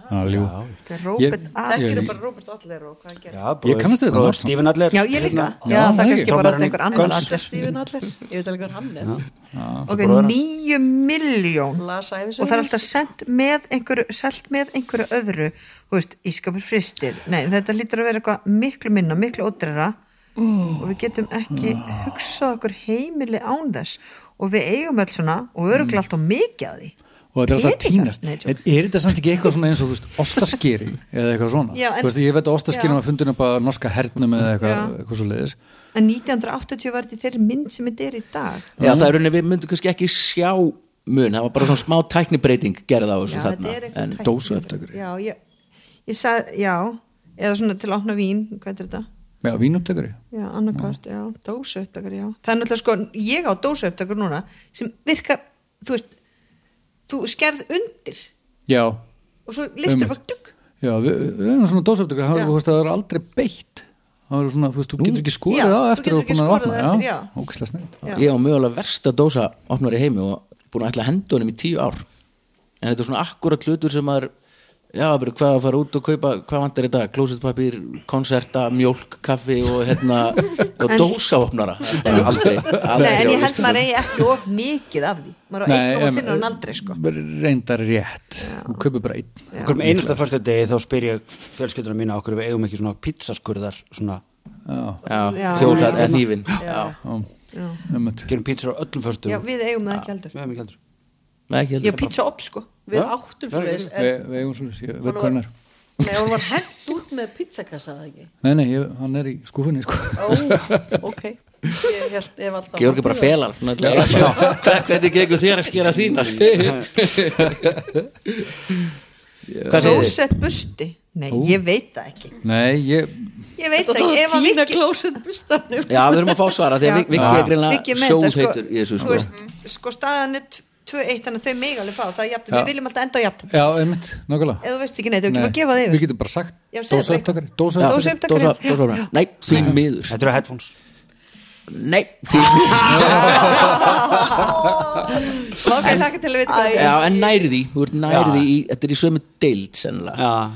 Já, ljú.
Þetta er Robert
Ég-
Adler.
Þekkirðu
bara Robert Allir og hvað hann gerir
Já, bróðir-
kannast við þetta,
bróðir
Mark.
Stephen Adler
Já, ég líka,
hérna.
já, það
nei.
er kannski bara
Trommarinn
einhver annar
Guns.
Adler
Stephen Allir, ég veit alveg hvað hann er
Ok,
bróðir hans.
nýju miljón
Las ævisögur.
og það er alltaf sendt með einhverju, selt með einhverju öðru þú veist, ískapur fristir nei, þetta lítur að vera eitthvað miklu minna miklu ódreira og við getum ekki hugsað okkur heimili án þess og við eigum öll svona og
Mm.
öruglega alltaf mikið að því
og þetta er alltaf að
Peningar.
týnast
Nei,
En
tjók.
er þetta samt ekki eitthvað svona eins og þú veist, ostaskýri eða eitthvað svona
Já, en-
Þú veist, ég veit að ostaskýri
Já.
var fundin upp að norska hernum eða eitthvað,
Já.
eitthvað svo leiðis
en 1980 var þetta í þeirri mynd sem þetta er í dag
Já, það er rauninni, við myndum kannski ekki sjá mun, það var bara svona smá tæknibreiting gerð á þessu
já,
þarna,
þetta er eitthvað
en
tæknileg.
dósaupptökur.
já, ég, ég sag, já, eða svona til að opna vín hvað er þetta?
já, vínumtökari
Já, annarkvart, já, dósaupptökur, já. Það er náttúrulega sko, ég á dósaupptökur núna sem virkar, þú veist, þú skerð undir
já,
og svo liftur
Einmitt.
bara dugg.
já, við, við erum svona dósaupptökari það,
Já.
þú veist, það er aldrei beitt það er svona, þú veist, þú getur ekki
Já,
skorið á
þú
eftir
getur
að
ekki
búin að
skorið á
opna
eftir, já.
ógislega snill
Já.
ég á mögulega versta dósa opnar í heimi og búin að ætla að henda honum í tíu ár en þetta er svona akkurat hlutur sem maður já, bara hvað að fara út og kaupa hvað vantar í dag, klósetpapír, konserta mjólk, kaffi og hérna og
En-
dósa opnara bara aldrei, aldrei
Nei, en ég
á
held
listanum.
maður eigi ekki of mikið af því. Maður á einn og finna hann aldrei, sko.
reyndar rétt, þú kaupir bara einn
Okkur með einasta fyrstu degi þá spyr ég fjölskylduna mína okkur við eigum ekki svona pizzaskurðar svona,
já,
Já.
hjólar eða nýfin já,
Já,
einmitt.
gerum pizzar á öllum fyrstu
já við eigum það ekki heldur.
við hefum ekki heldur
Nei, ekki
Ég
heldur.
á pizza op, sko.
við
Já,
áttum svo leiðis
við við eigum svona, ég veit hvað hann er
nei, hún var hent út með pizzakassa eða ekki
nei, nei, ég, hann er í skúfunni sko.
ó, ok ég held, ég valda
Georgi bara felar svona til að- Hvað- hvernig gengur þér að skera þína hvað segir þið?
Klósett busti. Nei, ég veit það ekki.
nei, ég,
Ég veit það
þetta
ekki. Ef
var
að
tína
Viki-
klósett bustanum
Já, við erum að fá svara því að
Já.
Vik- Viggi er
Viggi
greinlega
með þetta, sko,
sjóðheitur í þessu
þú
sko.
veist, sko staðan er 2-1 þannig að þau mig alveg fá það er jafnt,
Já.
við viljum alltaf enda á jafnt
já, einmitt, nákvæmlega
eða þú veist ekki neitt, þú
Nei,
getur að gefa þig
Við
yfir
getum bara sagt
Já, segðu bara
dósaupptakari
Já,
Dósa-
Dósaupptakari
Dósaupptakari.
dósa- dósa- Nei, því miður
Þetta eru headphones
Nei, því miður
lóka ég laka til að vita hvað það
Já, en næri því, þú ert næri því í, Þetta er í sömu deild sennilega
Já,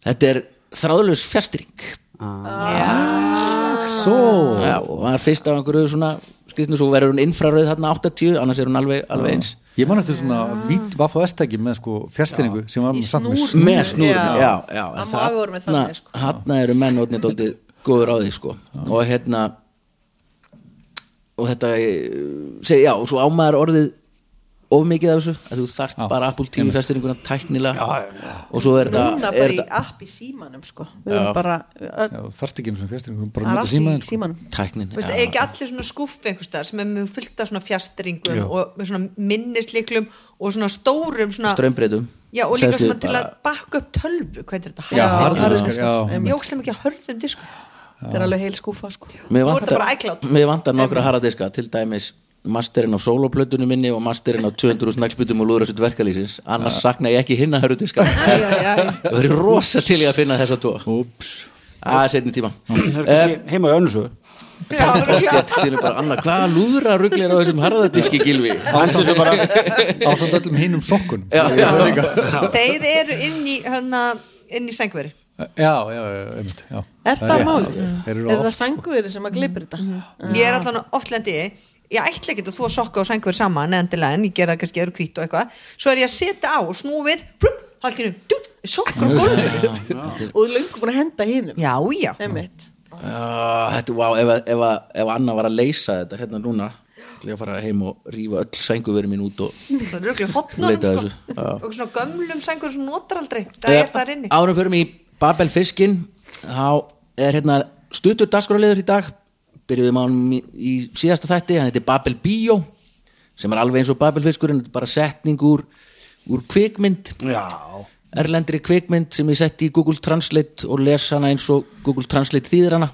Þetta er þráðlaus fjastring
Svo
Já, og það er fyrst af einhverju svona skrýtnum svo verður hún infrarauð þarna 80 annars er hún alveg, alveg eins
Ég man eftir svona vít vaff á S-tæki með sko fjastýringu sem var
Í
með samt með
snúr.
með snúrum,
Já.
já, já
Amma afi voru með þannig, sko.
hann eru menn orðnir dóttið góður á því sko og hérna og þetta eh, segi, já, og svo ámaður orðið of mikið af þessu, að þú þarft
Já,
bara Apple TV festiringuna tæknilega
Já, já, já.
og svo er
Núna
þetta
bara
er
í
þetta
app í símanum sko Við erum bara Það
Já, þarfti ekki einu svona fjastýringu, bara
er
nota símaðin
allt í
sko.
símanum
tæknin
Veist,
já.
er ekki allir svona skuffi einhverstaðar sem er með fullt af svona fjastringum og með svona minnisliklum og svona stórum svona
strömbreytum
já, og líka
Hleðslu
svona til
bara-
að bakka upp tölvu hvað er þetta?
Já,
harðir
harðir
diskar?
diskar, já,
Ég ógst þeim ekki að hörðum um disku
Þetta er alveg heil skúfa sko
Mér
Þú ert
vantar,
bara iCloud.
mér vantar nokkra haradiska til dæmis masterinn á soloplötunum minni og masterinn á 200 snagsbytum og lúðrasut verkalýsins annars sakna ég ekki hinna hörðudiska það verður rosa til ég að finna þessa tvo
Úps
að setni tíma
Það er kannski heima í önnusu
Pottþétt til bara, Anna, hvaða lúðra rugglir á þessum harðadiski gilvi
Ættu þessu bara
Ásamt öllum hinum sokkun
Já, já.
Þeir eru inn í hana, inn í sængveri
já, já, einmitt já.
Er það
rétt.
málið?
Þeir
Er
eru
það
oft, sko.
sangurinn sem að glipir þetta?
Ég er allan oft lendi í því. Ég ætla ekki að þú að sokka og sængveri saman endilega en ég gera það kannski öðru kvít og eitthvað Svo er ég að setja á og snúfið Haldinu, sokka og gólfið
Og þú löngu búin að henda hinum
Já, já
Einmitt.
Ah, Þetta, wow, ef, að- ef, að- ef Anna var að leysa þetta hérna núna til ég að fara heim og rífa öll sænguverið mín út og
Það eru örugglega í hopnunum,
Leita að
sko.
þessu, já.
og svona gömlum sængur sem notar aldrei það er þar inni
Árum förum í Babel fiskin þá er hérna stuttur dagskrárliður í dag byrjuðum á hann í, í síðasta þætti hann heitir Babel Bíó sem er alveg eins og Babel fiskurinn bara setning úr, úr kvikmynd
Já,
erlendri kvikmynd sem ég setti í Google Translate og les hana eins og Google Translate þýðir hana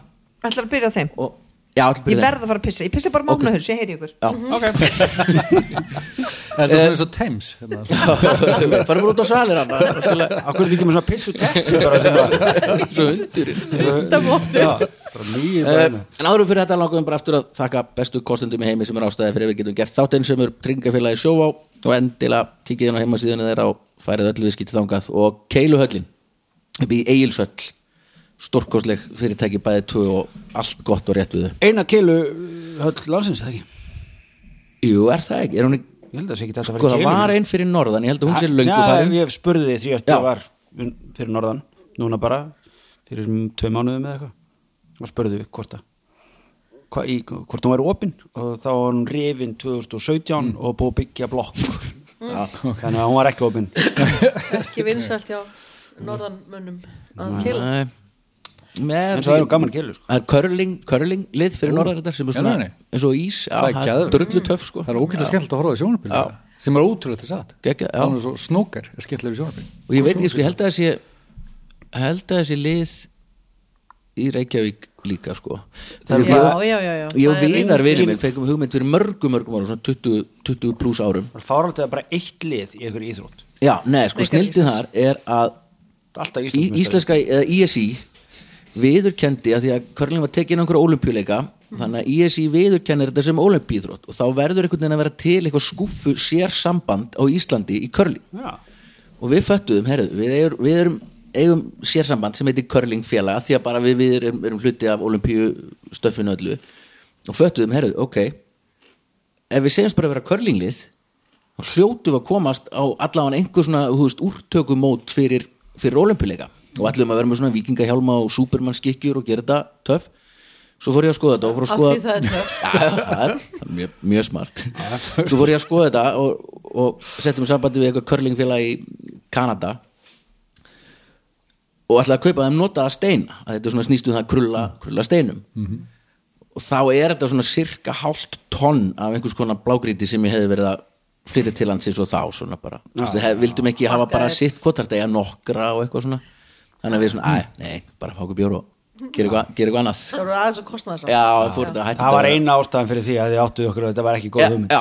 ætlar að byrja á þeim
og já, allir
ég
byrja
verð að fara að pissa, ég pissa bara mánu okay. ég heyri ykkur
Er
Eh,
það svona eins og Thames hérna, svona-
það fara bara út á svalir hana
akkur er þetta ekki með svona pissu teppi bara sem að
svo undurinn
Undamóttu Já, bara mýðir bara
Eh,
hérna.
En áður fyrir þetta langum við bara aftur að þakka bestu kostendum í heimi sem er ástæði fyrir að við getum gert þáttinn sem er tryggingafélagi sjóvá og endilega kikið inn á heimasíðunni þeirra og færið öllu viðskipt þangað og keiluhöllin upp í Egilsöll stórkostleg fyrirtæki bæði tvö og allt gott og rétt við þau
Eina keilu höll landsins, eða ekki?
Jú, er það ekki? Er hún ekki?
Ég held að það sé ekki þetta að
Sko,
fara í
það
keilu
var einn fyrir norðan, ég held að hún sé löngu
Já,
farin
ég spurði því að
Já.
ég var un- fyrir norðan núna bara, fyrir um tvei mánuðum eða eitthvað og spurði hvort að hva, í, hvort hún væri opinn og þá var hún rifin 2017
Mm.
og búið að byggja blokk
Mm.
þannig að hún var ekki opinn
Ekki vinsælt hjá norðanmönnum að keila
Nei. Með-
en svo það er hún gaman keilu sko.
Það er curling, curling lið fyrir norðan þetta sem er
Já,
svona
nei, nei.
eins og ís já,
Það er geðveikt.
drullu töff sko
Það er ógætlega skemmt að horfa á í sjónarbyrju sem er ótrúlega til satt
Geggjað, já.
Þannig svo snókar er skemmtilega í sjónarbyrju
og ég veit ekki, sko, ég held að þessi held að þessi lið í Reykjavík líka sko
Það er
Ég-
bara-
Já, já, já, já.
ég og
Það er
viðar
einmitt
vinur minn fengum hugmynd fyrir mörgum mörgum árum, svona 20, 20 pluss árum
það er fáralt að bara eitt lið í einhverju íþrótt
já, neða, sko,
Reykjavík
snildið þar er að
Það er alltaf
í,
íslenskt
íslenska, eða ISI viðurkendi að því að Körling var tekin einhverja olimpíuleika,
Mhm.
þannig að ISI viðurkennir þetta sem olimpíðrótt og þá verður einhvern veginn að vera til eitthvað skúffu sér samband á Íslandi í Körling
já,
og við föttuðum, herruð, við, eigum- við erum eigum sérsamband sem heitir curling félaga því að bara við, við erum, erum hluti af olimpíu stöffinu öllu og föttuðum, herruð, ok ef við segjumst bara að vera curlinglið þá hljótu við að komast á allavega einhver svona, þú veist, úrtökumót fyrir, fyrir olimpíuleika og allir um að vera með svona vikingahjálma og supermannskikkjur og gera þetta töff svo fór ég að skoða þetta og fór að
Af
skoða
því það er töff.
Já, það er það er mjög, mjög smart svo fór ég að skoða þetta og, og settum í sambandi við eitthvað curlingfélag í Kanada og ætlaði að kaupa þeim notaða steina að þetta er svona snýst um það að krulla, krulla steinum og þá er þetta svona cirka hálft tonn af einhvers konar blágríti sem ég hefði verið að flytja til hans eins og þá svona bara Þú veist, hef, vildum ekki hafa bara sitt kvotartegja nokkra og eitthvað svona þannig að við svona, æ, nei, bara fá okkur bjór og gera eitthvað, gera eitthvað annað
Það voru aðeins að kostna þess
Já, fór þetta að hætta
það var eina ástæðan fyrir því að þið áttuð okkur að þetta var ekki góð hugmynd
Já,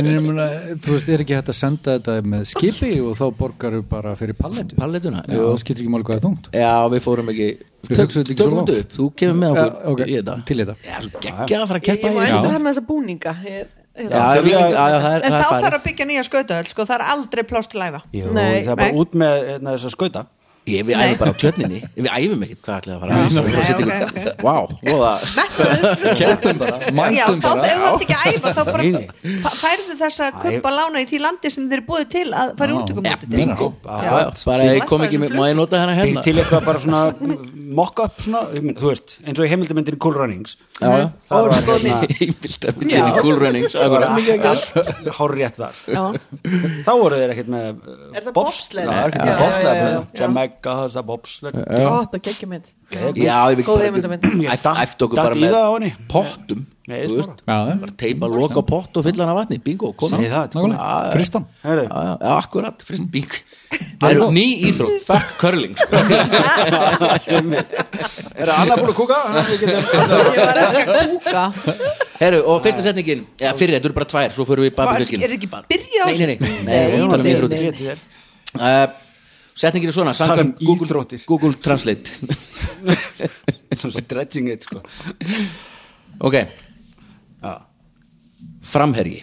En ég meina, þú veist, er ekki hægt að senda þetta með skipi og þá borgaru bara fyrir palletu
Palletuna,
Já,
jú.
það skiptir ekki máli hvað það er þungt
já, við fórum ekki
Við
Tök-
hugsuðum þetta ekki svo
tökum
langt.
þetta upp, þú kemur með
Já,
okkur
ok,
í þetta
til í þetta.
Já, svo geggjað að fara að
Ég
keppa
ég má
í þessu.
endur hann þessa búninga Ég- ég-
Já, það er
Ég-
líka- já, já, það er það
en þá
er
þarf
farið
að byggja nýja skautahöll sko, það er aldrei plást til æfa
Jú,
Nei,
það er bara
nei.
út með hérna, þess að skauta
Ég, við æfum bara á tjörninni, við æfum ekkert hvað ætlaði að fara að
Nei,
Við setjum-
ok, ok.
Vá, voða
keppum bara,
Já,
um
mætum
þá
bara
ef þú ert ekki að æfa þá bara
Nei, nei.
fa- færðu þessa kuppa lána í því landi sem þeir eru búið til að fara útökum
bingo
Já, já, bara ég kom ekki með, má ég nota hennar
til,
hérna
til eitthvað bara svona mock-up svona, ég meina, þú veist, eins og í heimildamindin Cool Runnings
Já, já.
það var
Óskoðun.
hérna
Ímpilt að við tegum kúlrunning
það var allt hárrétt þar þá voru þeir ekkert með uh,
Er það bobsled? Já, já, já, já,
bobsleð
já.
Jamaica, það er bobsleð
gott og geggjum mitt
Já, ég veit
Góð heimildamynd.
Æf- Æfti okkur bara
datt í það á henni.
með pottum
Nei,
þú
smára.
veist.
Já,
bara teipa, loka pott og fylla hann af vatni bingo, kona
Segðu
já,
það, þetta
nákvæmlega, fristan
Heyrðu.
já, já, akkurat, frist bing Það eru ný íþrótt, fuck curling sko.
er það annað búin að kúka? Við getum-
Heru, og fyrsta setningin, eða fyrir, þetta eru bara tvær svo förum við í
Er
babyrjöskin
þetta ekki byrjað á
Nei, nei, nei, nei, við erum að tala um
Ég
íþróttir
get þér.
uh, Setningin er svona
Tala um
samkvæmt Google,
íþróttir.
Google Translate
svona stretching it sko
Ok
Já.
Framherji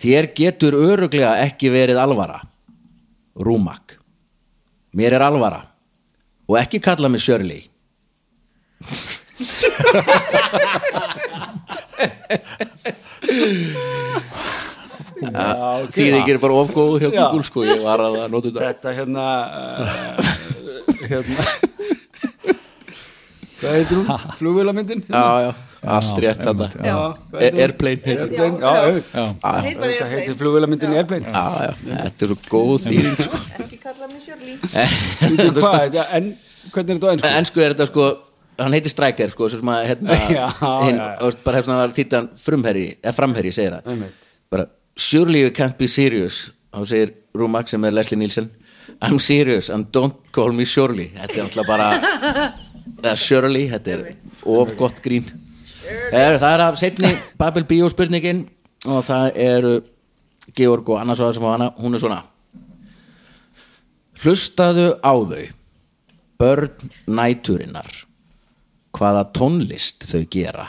Þér getur öruglega ekki verið alvara Rúmak Mér er alvara Og ekki kalla mig Shirley
Já, ok.
Því þið gerir bara ofgóð hjá
Já.
Google sko Ég var að það notu þetta
þetta hérna uh, hérna hvað heitir hún? flugvélamyndin?
Já, já, allt rétt þarna
Já, hvað heitir hún?
Airplane heitir hún.
Airplane, já, auðvitað.
Já.
Ah,
auðvitað heitir flugvélamyndin Airplane
Já, já, þetta er svo góð þýring sko.
Ekki kalla mig Shirley
Bíddu, hvað, sko, þetta- en hvernig er þetta á ennsku?
En sko er þetta sko Hann heitir Stryker sko sem að hérna
Já,
hinn,
já, já.
þú veist, bara hérna var þýttan frumherji eða framherji segir það
Einmitt.
bara surely you can't be serious þá segir Rúmak sem er Leslie Nielsen I'm serious and don't call me Shirley þetta er alltaf bara eða Shirley, þetta er of gott grín er, það er af setni Babel Bíó spurningin og það eru Georg og annars áður sem á hana, hún er svona Hlustaðu á þau Börn næturinnar Hvaða tónlist þau gera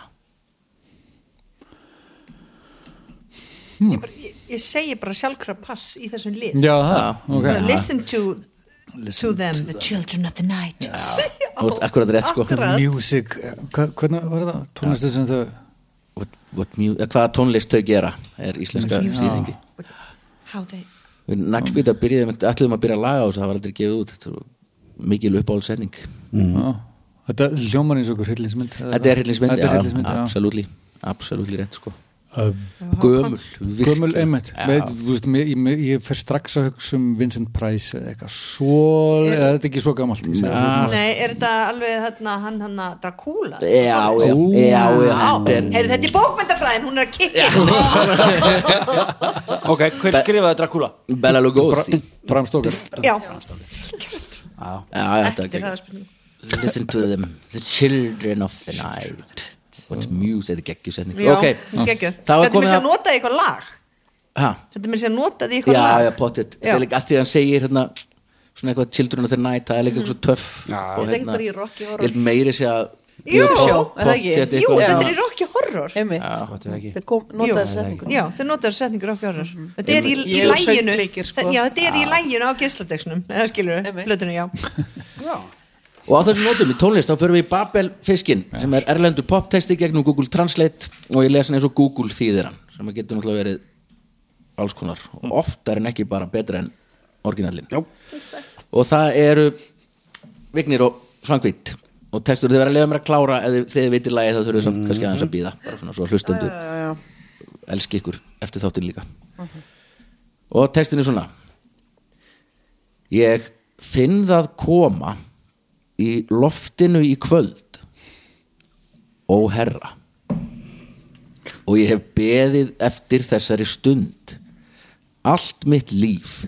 Ég bara- ég- Ég segi bara sjálfkrafa pass í þessum lið
já, það, ok
Bara Listen to to them, the children of the night
Þú ert akkurat rétt sko
Akkurat.
music, hva- hvernig var það tónlistu sem þau
what, what mu- eh, Hvaða tónlist þau gera er íslenska síðingi
How they
Við naglbítar byrjuðum ætluðum að byrja að laga á þessu það var aldrei gefið út Þetta er mikil uppáhaldsetning
Já. þetta hljómar eins og okkur hryllinsmynd
Þetta er hryllingsmynd
þetta er hryllingsmynd, já
Absolutely, absolutely rétt sko
Um,
Gömul,
Gömul
virkilega.
einmitt Veit, þú veist, mér- ég, ég, ég fer strax að hugsa um Vincent Price eða eitthvað svo eða þetta er ekki svo gamalt ég segi það.
Nei, er þetta alveg þarna, hann hann að Dracula?
Já, já, já, já, þetta er
Heyrðu, þetta er bókmyndafræðin, hún er að kikki
ok, hver skrifaði Dracula?
Bella Lugosi
Bram Stoker
Já,
Já, já, þetta
þetta er
er
það spurning
Listen to them, the children of the night What music, þetta er geggjusetning
Já,
Ok,
geggjöð
þá
Þetta
er
er mér
komið
sér að
að
nota í eitthvað lag
Ha?
Þetta er mér sér að nota í eitthvað
já,
lag
já, potið þetta er líka að því að hann segir hérna, svona eitthvað children of the night það er líka eitthvað svo töff
Já.
og, hérna
Þetta er ekki bara í Rocky Horror.
ég held meiri sé að
Jú,
er það ekki?
potið
Jú,
eitthvað
þetta er
svona-
í Rocky Horror
einmitt
gott ef ekki.
Þeir kom-
Jú.
notaði setningu
Já, þau notaðu setningur Rocky Horror Þetta er í, í
Ég er
læginu
söngleikir, sko.
Já, þetta er í læginu á geisladeksnum Það skilur við,
Einmitt.
blöðinu, já
og á þessum nótum í tónlist þá förum við í Babel Fiskin sem er erlendur poptexti gegnum Google Translate og ég les hann eins og Google þýðir hann sem að getur náttúrulega verið alls konar og oftar en ekki bara betra en orginallin
já,
og það eru Vignir og Svangvít og textur þið verða að leiða mér að klára ef þið- þið vitir lagi þá þurfum við samt kannski aðeins að býða bara svona svo að hlustendur elski ykkur eftir þáttin líka og textin er svona ég finn það koma í loftinu í kvöld ó herra og ég hef beðið eftir þessari stund allt mitt líf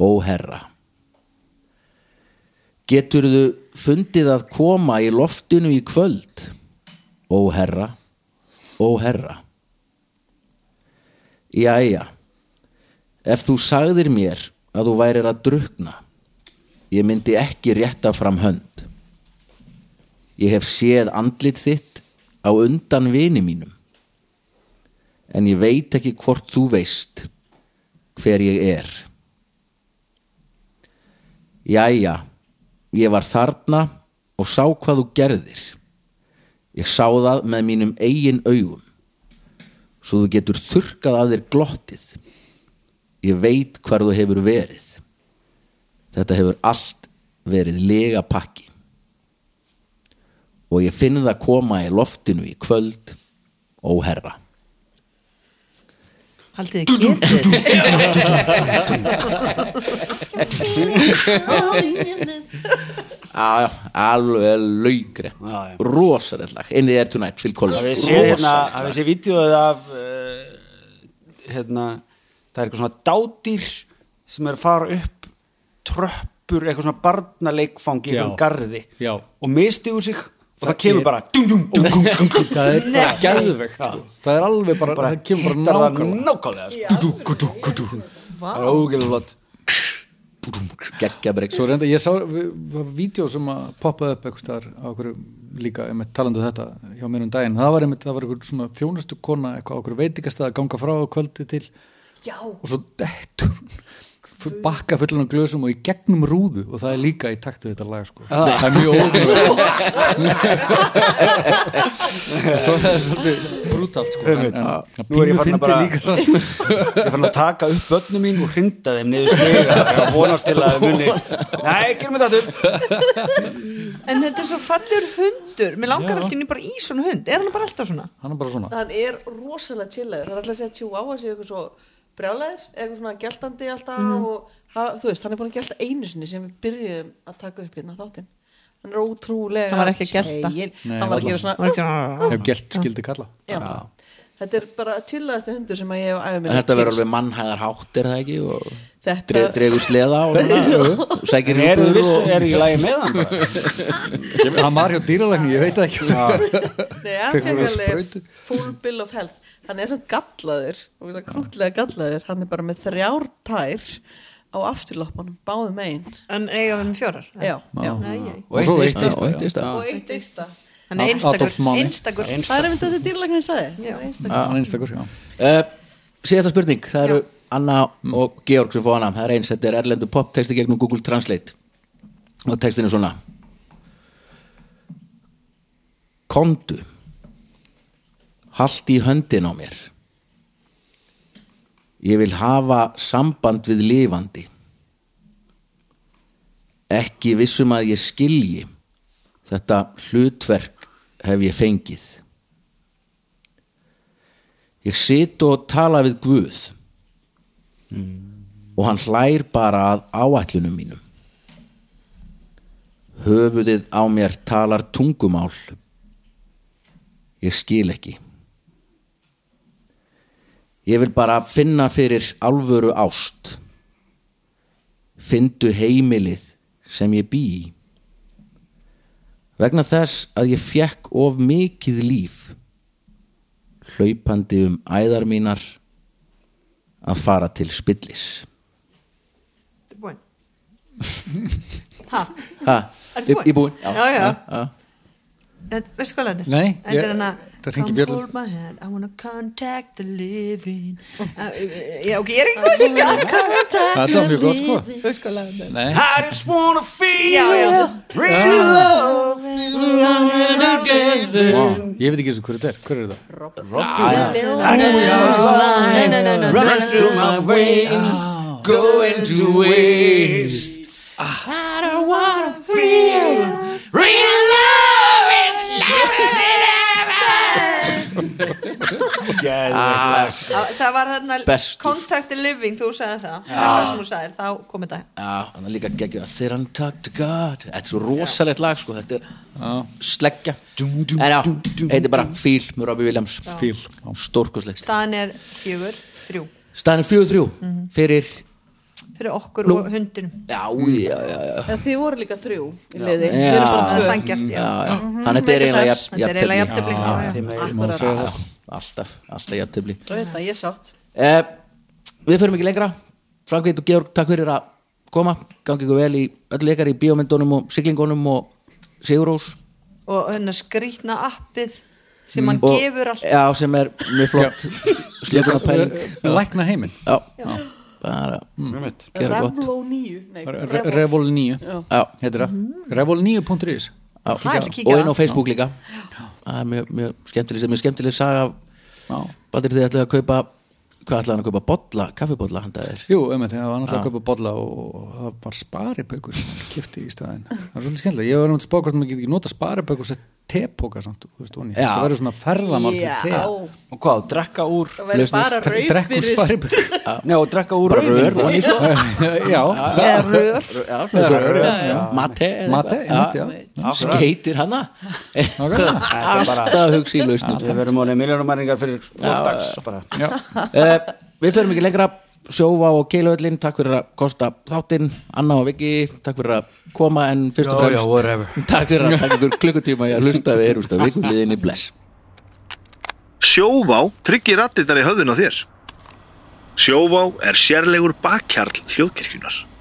ó herra Geturðu fundið að koma í loftinu í kvöld? Ó herra, ó herra. Jæja, ef þú sagðir mér að þú værir að drukna, ég myndi ekki rétta fram hönd. Ég hef séð andlit þitt á undan vini mínum, en ég veit ekki hvort þú veist hver ég er. Jæja, ég var þarna og sá hvað þú gerðir. Ég sá það með mínum eigin augum. Svo þú getur þurkað að þér glottið. Ég veit hvar þú hefur verið. Þetta hefur allt verið lega pakki. Og ég finn það koma í loftinu í kvöld, ó herra.
Haldið þið getið
Já, já, alveg laugri
Já, já.
rosalegt lag, inni þér tonight Phil Collins,
hafið séð hérna,
rosalegt
hafið
lag
séð vídeoið af uh, hérna, það er eitthvað svona dádýr sem er að fara upp tröppur, eitthvað svona barnaleikfang í
Já.
einhverjum garði
Já.
og mistiðu sig og það,
Það
kemur
er-
bara dung, dung, dung, dung, dung, dung,
það er bara geðveikt sko. það er alveg bara,
bara
það kemur
hittar
bara
það
nákvæmlega
nákvæmlega sko. Dú, dú, dú, dú, dú, dú. það er ógæðlega flott
geggja bara
Svo reynda, ég sá vídeo sem að poppaði upp eitthvað staðar á okkur líka, einmitt talandu þetta hjá mér um daginn, það var einmitt, það var einhver svona þjónustu kona, eitthvað á okkur veitingastað að ganga frá á kvöldi til
Já.
og svo dettur hún fu- bakka fullan af glösum og í gegnum rúðu og það er líka í taktu þetta lag sko.
Ah.
það er mjög ótrúlega svo það er svolítið brútalt sko, en, en
Nú er
pínu
ég farin að
fyndi
bara-
líka samt.
ég er fann að taka upp börnum mín og hrinda þeim niður stiga og vonast til að þau muni nei, gerum þetta aftur
En þetta er svo fallur hundur Mér langar alltaf bara í svona hund Er hann bara alltaf svona?
hann er bara svona
hann er rosalega chillaður hann er alltaf að segja chihuahua séu eitthvað svo brjálæður, eitthvað svona geltandi alltaf og hafa, þú veist, hann er búin að gelta einu sinni sem við byrjuðum að taka upp hérna þáttinn hann er ótrúlega
Hann var ekki að gelta.
chillinn.
Nei,
hann var að gera
Hann
svona
var ekki svona-
ef gelt skildi kalla
já. þetta er bara chillaðasti hundur sem að ég hef
En
æfum
þetta verður alveg mannhæðar hátt er það ekki og
Þetta-
dre, dregur sleða og svona, og sækir
en er
rjúpur
þau viss,
og-
er ég í lagi með hann bara?
hann var hjá dýralegni, ég veit það ekki
Nei,
Fekk
hann fekk
hún að
alveg
sprautu?
full bill of health hann er samt gallaður og svona krútlega gallaður, hann er bara með þrjár tær á afturloppanum báðum megin
Hann eiga við með fjórar
já, já.
og svo
eitt
eitt
Já, og
eista,
eitt
já.
í stað.
og eitt eista
Hann er
Out
einstakur
of money.
Einstakur
það er einmitt það sem dýrlæknir sagði
Já.
hann er einstakur já.
Eh, Síðasta spurning, það eru Anna og Georg sem fá hana Það er eins, þetta er erlendu pop texti gegnum Google Translate Og textin er svona Komdu Halt í höndin á mér Ég vil hafa samband við lifandi Ekki vissum að ég skilji Þetta hlutverk hef ég fengið Ég sit og tala við Guð og hann hlær bara að áætlunum mínum. Höfuðið á mér talar tungumál. Ég skil ekki. Ég vil bara finna fyrir alvöru ást. Findu heimilið sem ég bý í. Vegna þess að ég fekk of mikið líf hlaupandi um æðar mínar að fara til spillis
Ertu búinn?
ha,
Ertu
ég- ég búinn
Já, já,
já.
Þetta- Eh, Veistu hvað þetta er?
Nei,
Þetta er
ég-
hann að
það hringir
Come
bjöllum.
hold my hand, I wanna contact the living Ah, Já, ok, ég er ekki góð að syngja
þetta var mjög gott sko
Veistu hvað þetta er?
Nei.
I just wanna feel
Já, já
real love
ég veit ekki eins og hver þetta er, hver er þetta?
Nei, nei, nei, nei, nei.
Run through my veins Going to waste
Ah.
I don't wanna feel Real love is louder than ever Gæðvegt lag sko.
Þa- Það var þarna
Bestur.
Contact the living, þú sagði það Það var það sem þú sagðir, þá kom þetta
Já, þannig líka geggjum að sit and talk to God Þetta er svo rosalegt lag sko Þetta er sleggja En já, heitir bara Fíl með Robbie Williams
Fíl.
Stórkosleg
Staðan er fjögur, þrjú
Staðan er 4-3
Mhm.
fyrir
Fyrir okkur og hundinum
Já, já, já, já.
En þið voru líka þrjú í liði
Já.
Við erum bara
Það er
tvö
sangjart,
já,
já
já. Þannig þetta er eiginlega jafn-
Þetta er eiginlega
jafntefli.
jafntefli já, já.
Má
Akkurat.
segja það?
Alltaf, alltaf jafntefli
Og þetta, ég er sátt
Eh, við förum ekki lengra Frankveit og Georg, takk fyrir að koma gangi ykkur vel í öll leikar í bíómyndunum og siglingunum og Sigurós
Og hennar skrýtna appið sem hann
og,
gefur alltaf
já, sem er mjög flott slökun og pæling
lækna heiminn
já, já. bara
mm.
gera gott
Revló 9 Nei,
Re Revol 9
Já. Mhm.
já,
heitir það Revol 9.is
já.
Það er kíkja
og
á.
inn á Facebook líka það er mjög, mjög skemmtileg mjög skemmtileg saga
Já.
Baldur þið ætlaði að kaupa hvað ætlaði hann að kaupa? Bolla, kaffibotla handaðir
Jú, um þetta, það var náttúrulega að kaupa bolla og það var sparibaukur sem hann kipti í staðin Það er svolítið skemmtilega, ég var náttúrulega spá hvort maður getur ekki nota sparibaukur sem tepóka samt, þú veist, onni
Já.
Það verður svona ferðamál fyrir te
Já,
og hvað, og drekka úr
það verður bara
Dre-
rauð
drekkur
fyrir
sparibaukur
Nei, og drekka úr
bara
rauðvíni.
rör ofan í svo.
Já,
eða rör
Já, svona svo-
rör, já.
mate eða
mati,
eitthvað.
mati, já
Já. skeitir hana
Nákvæmlega.
alltaf að hugsa í lausnum
Við verðum orðið miljónumæringar fyrir vordags bara.
Já,
Eh, Við förum ekki lengra sjófa og keiluöllin, takk fyrir að kosta þáttinn, Anna og Viki takk fyrir að koma en fyrst og
Já,
fremst
já, whatever.
takk fyrir að taka ykkur klukkutíma í að hlusta við erumst að vikuliðinni bless
Sjóvá tryggir rattirnar í höfðun á þér. Sjóvá er sérlegur bakkjarl hljóðkirkjunar.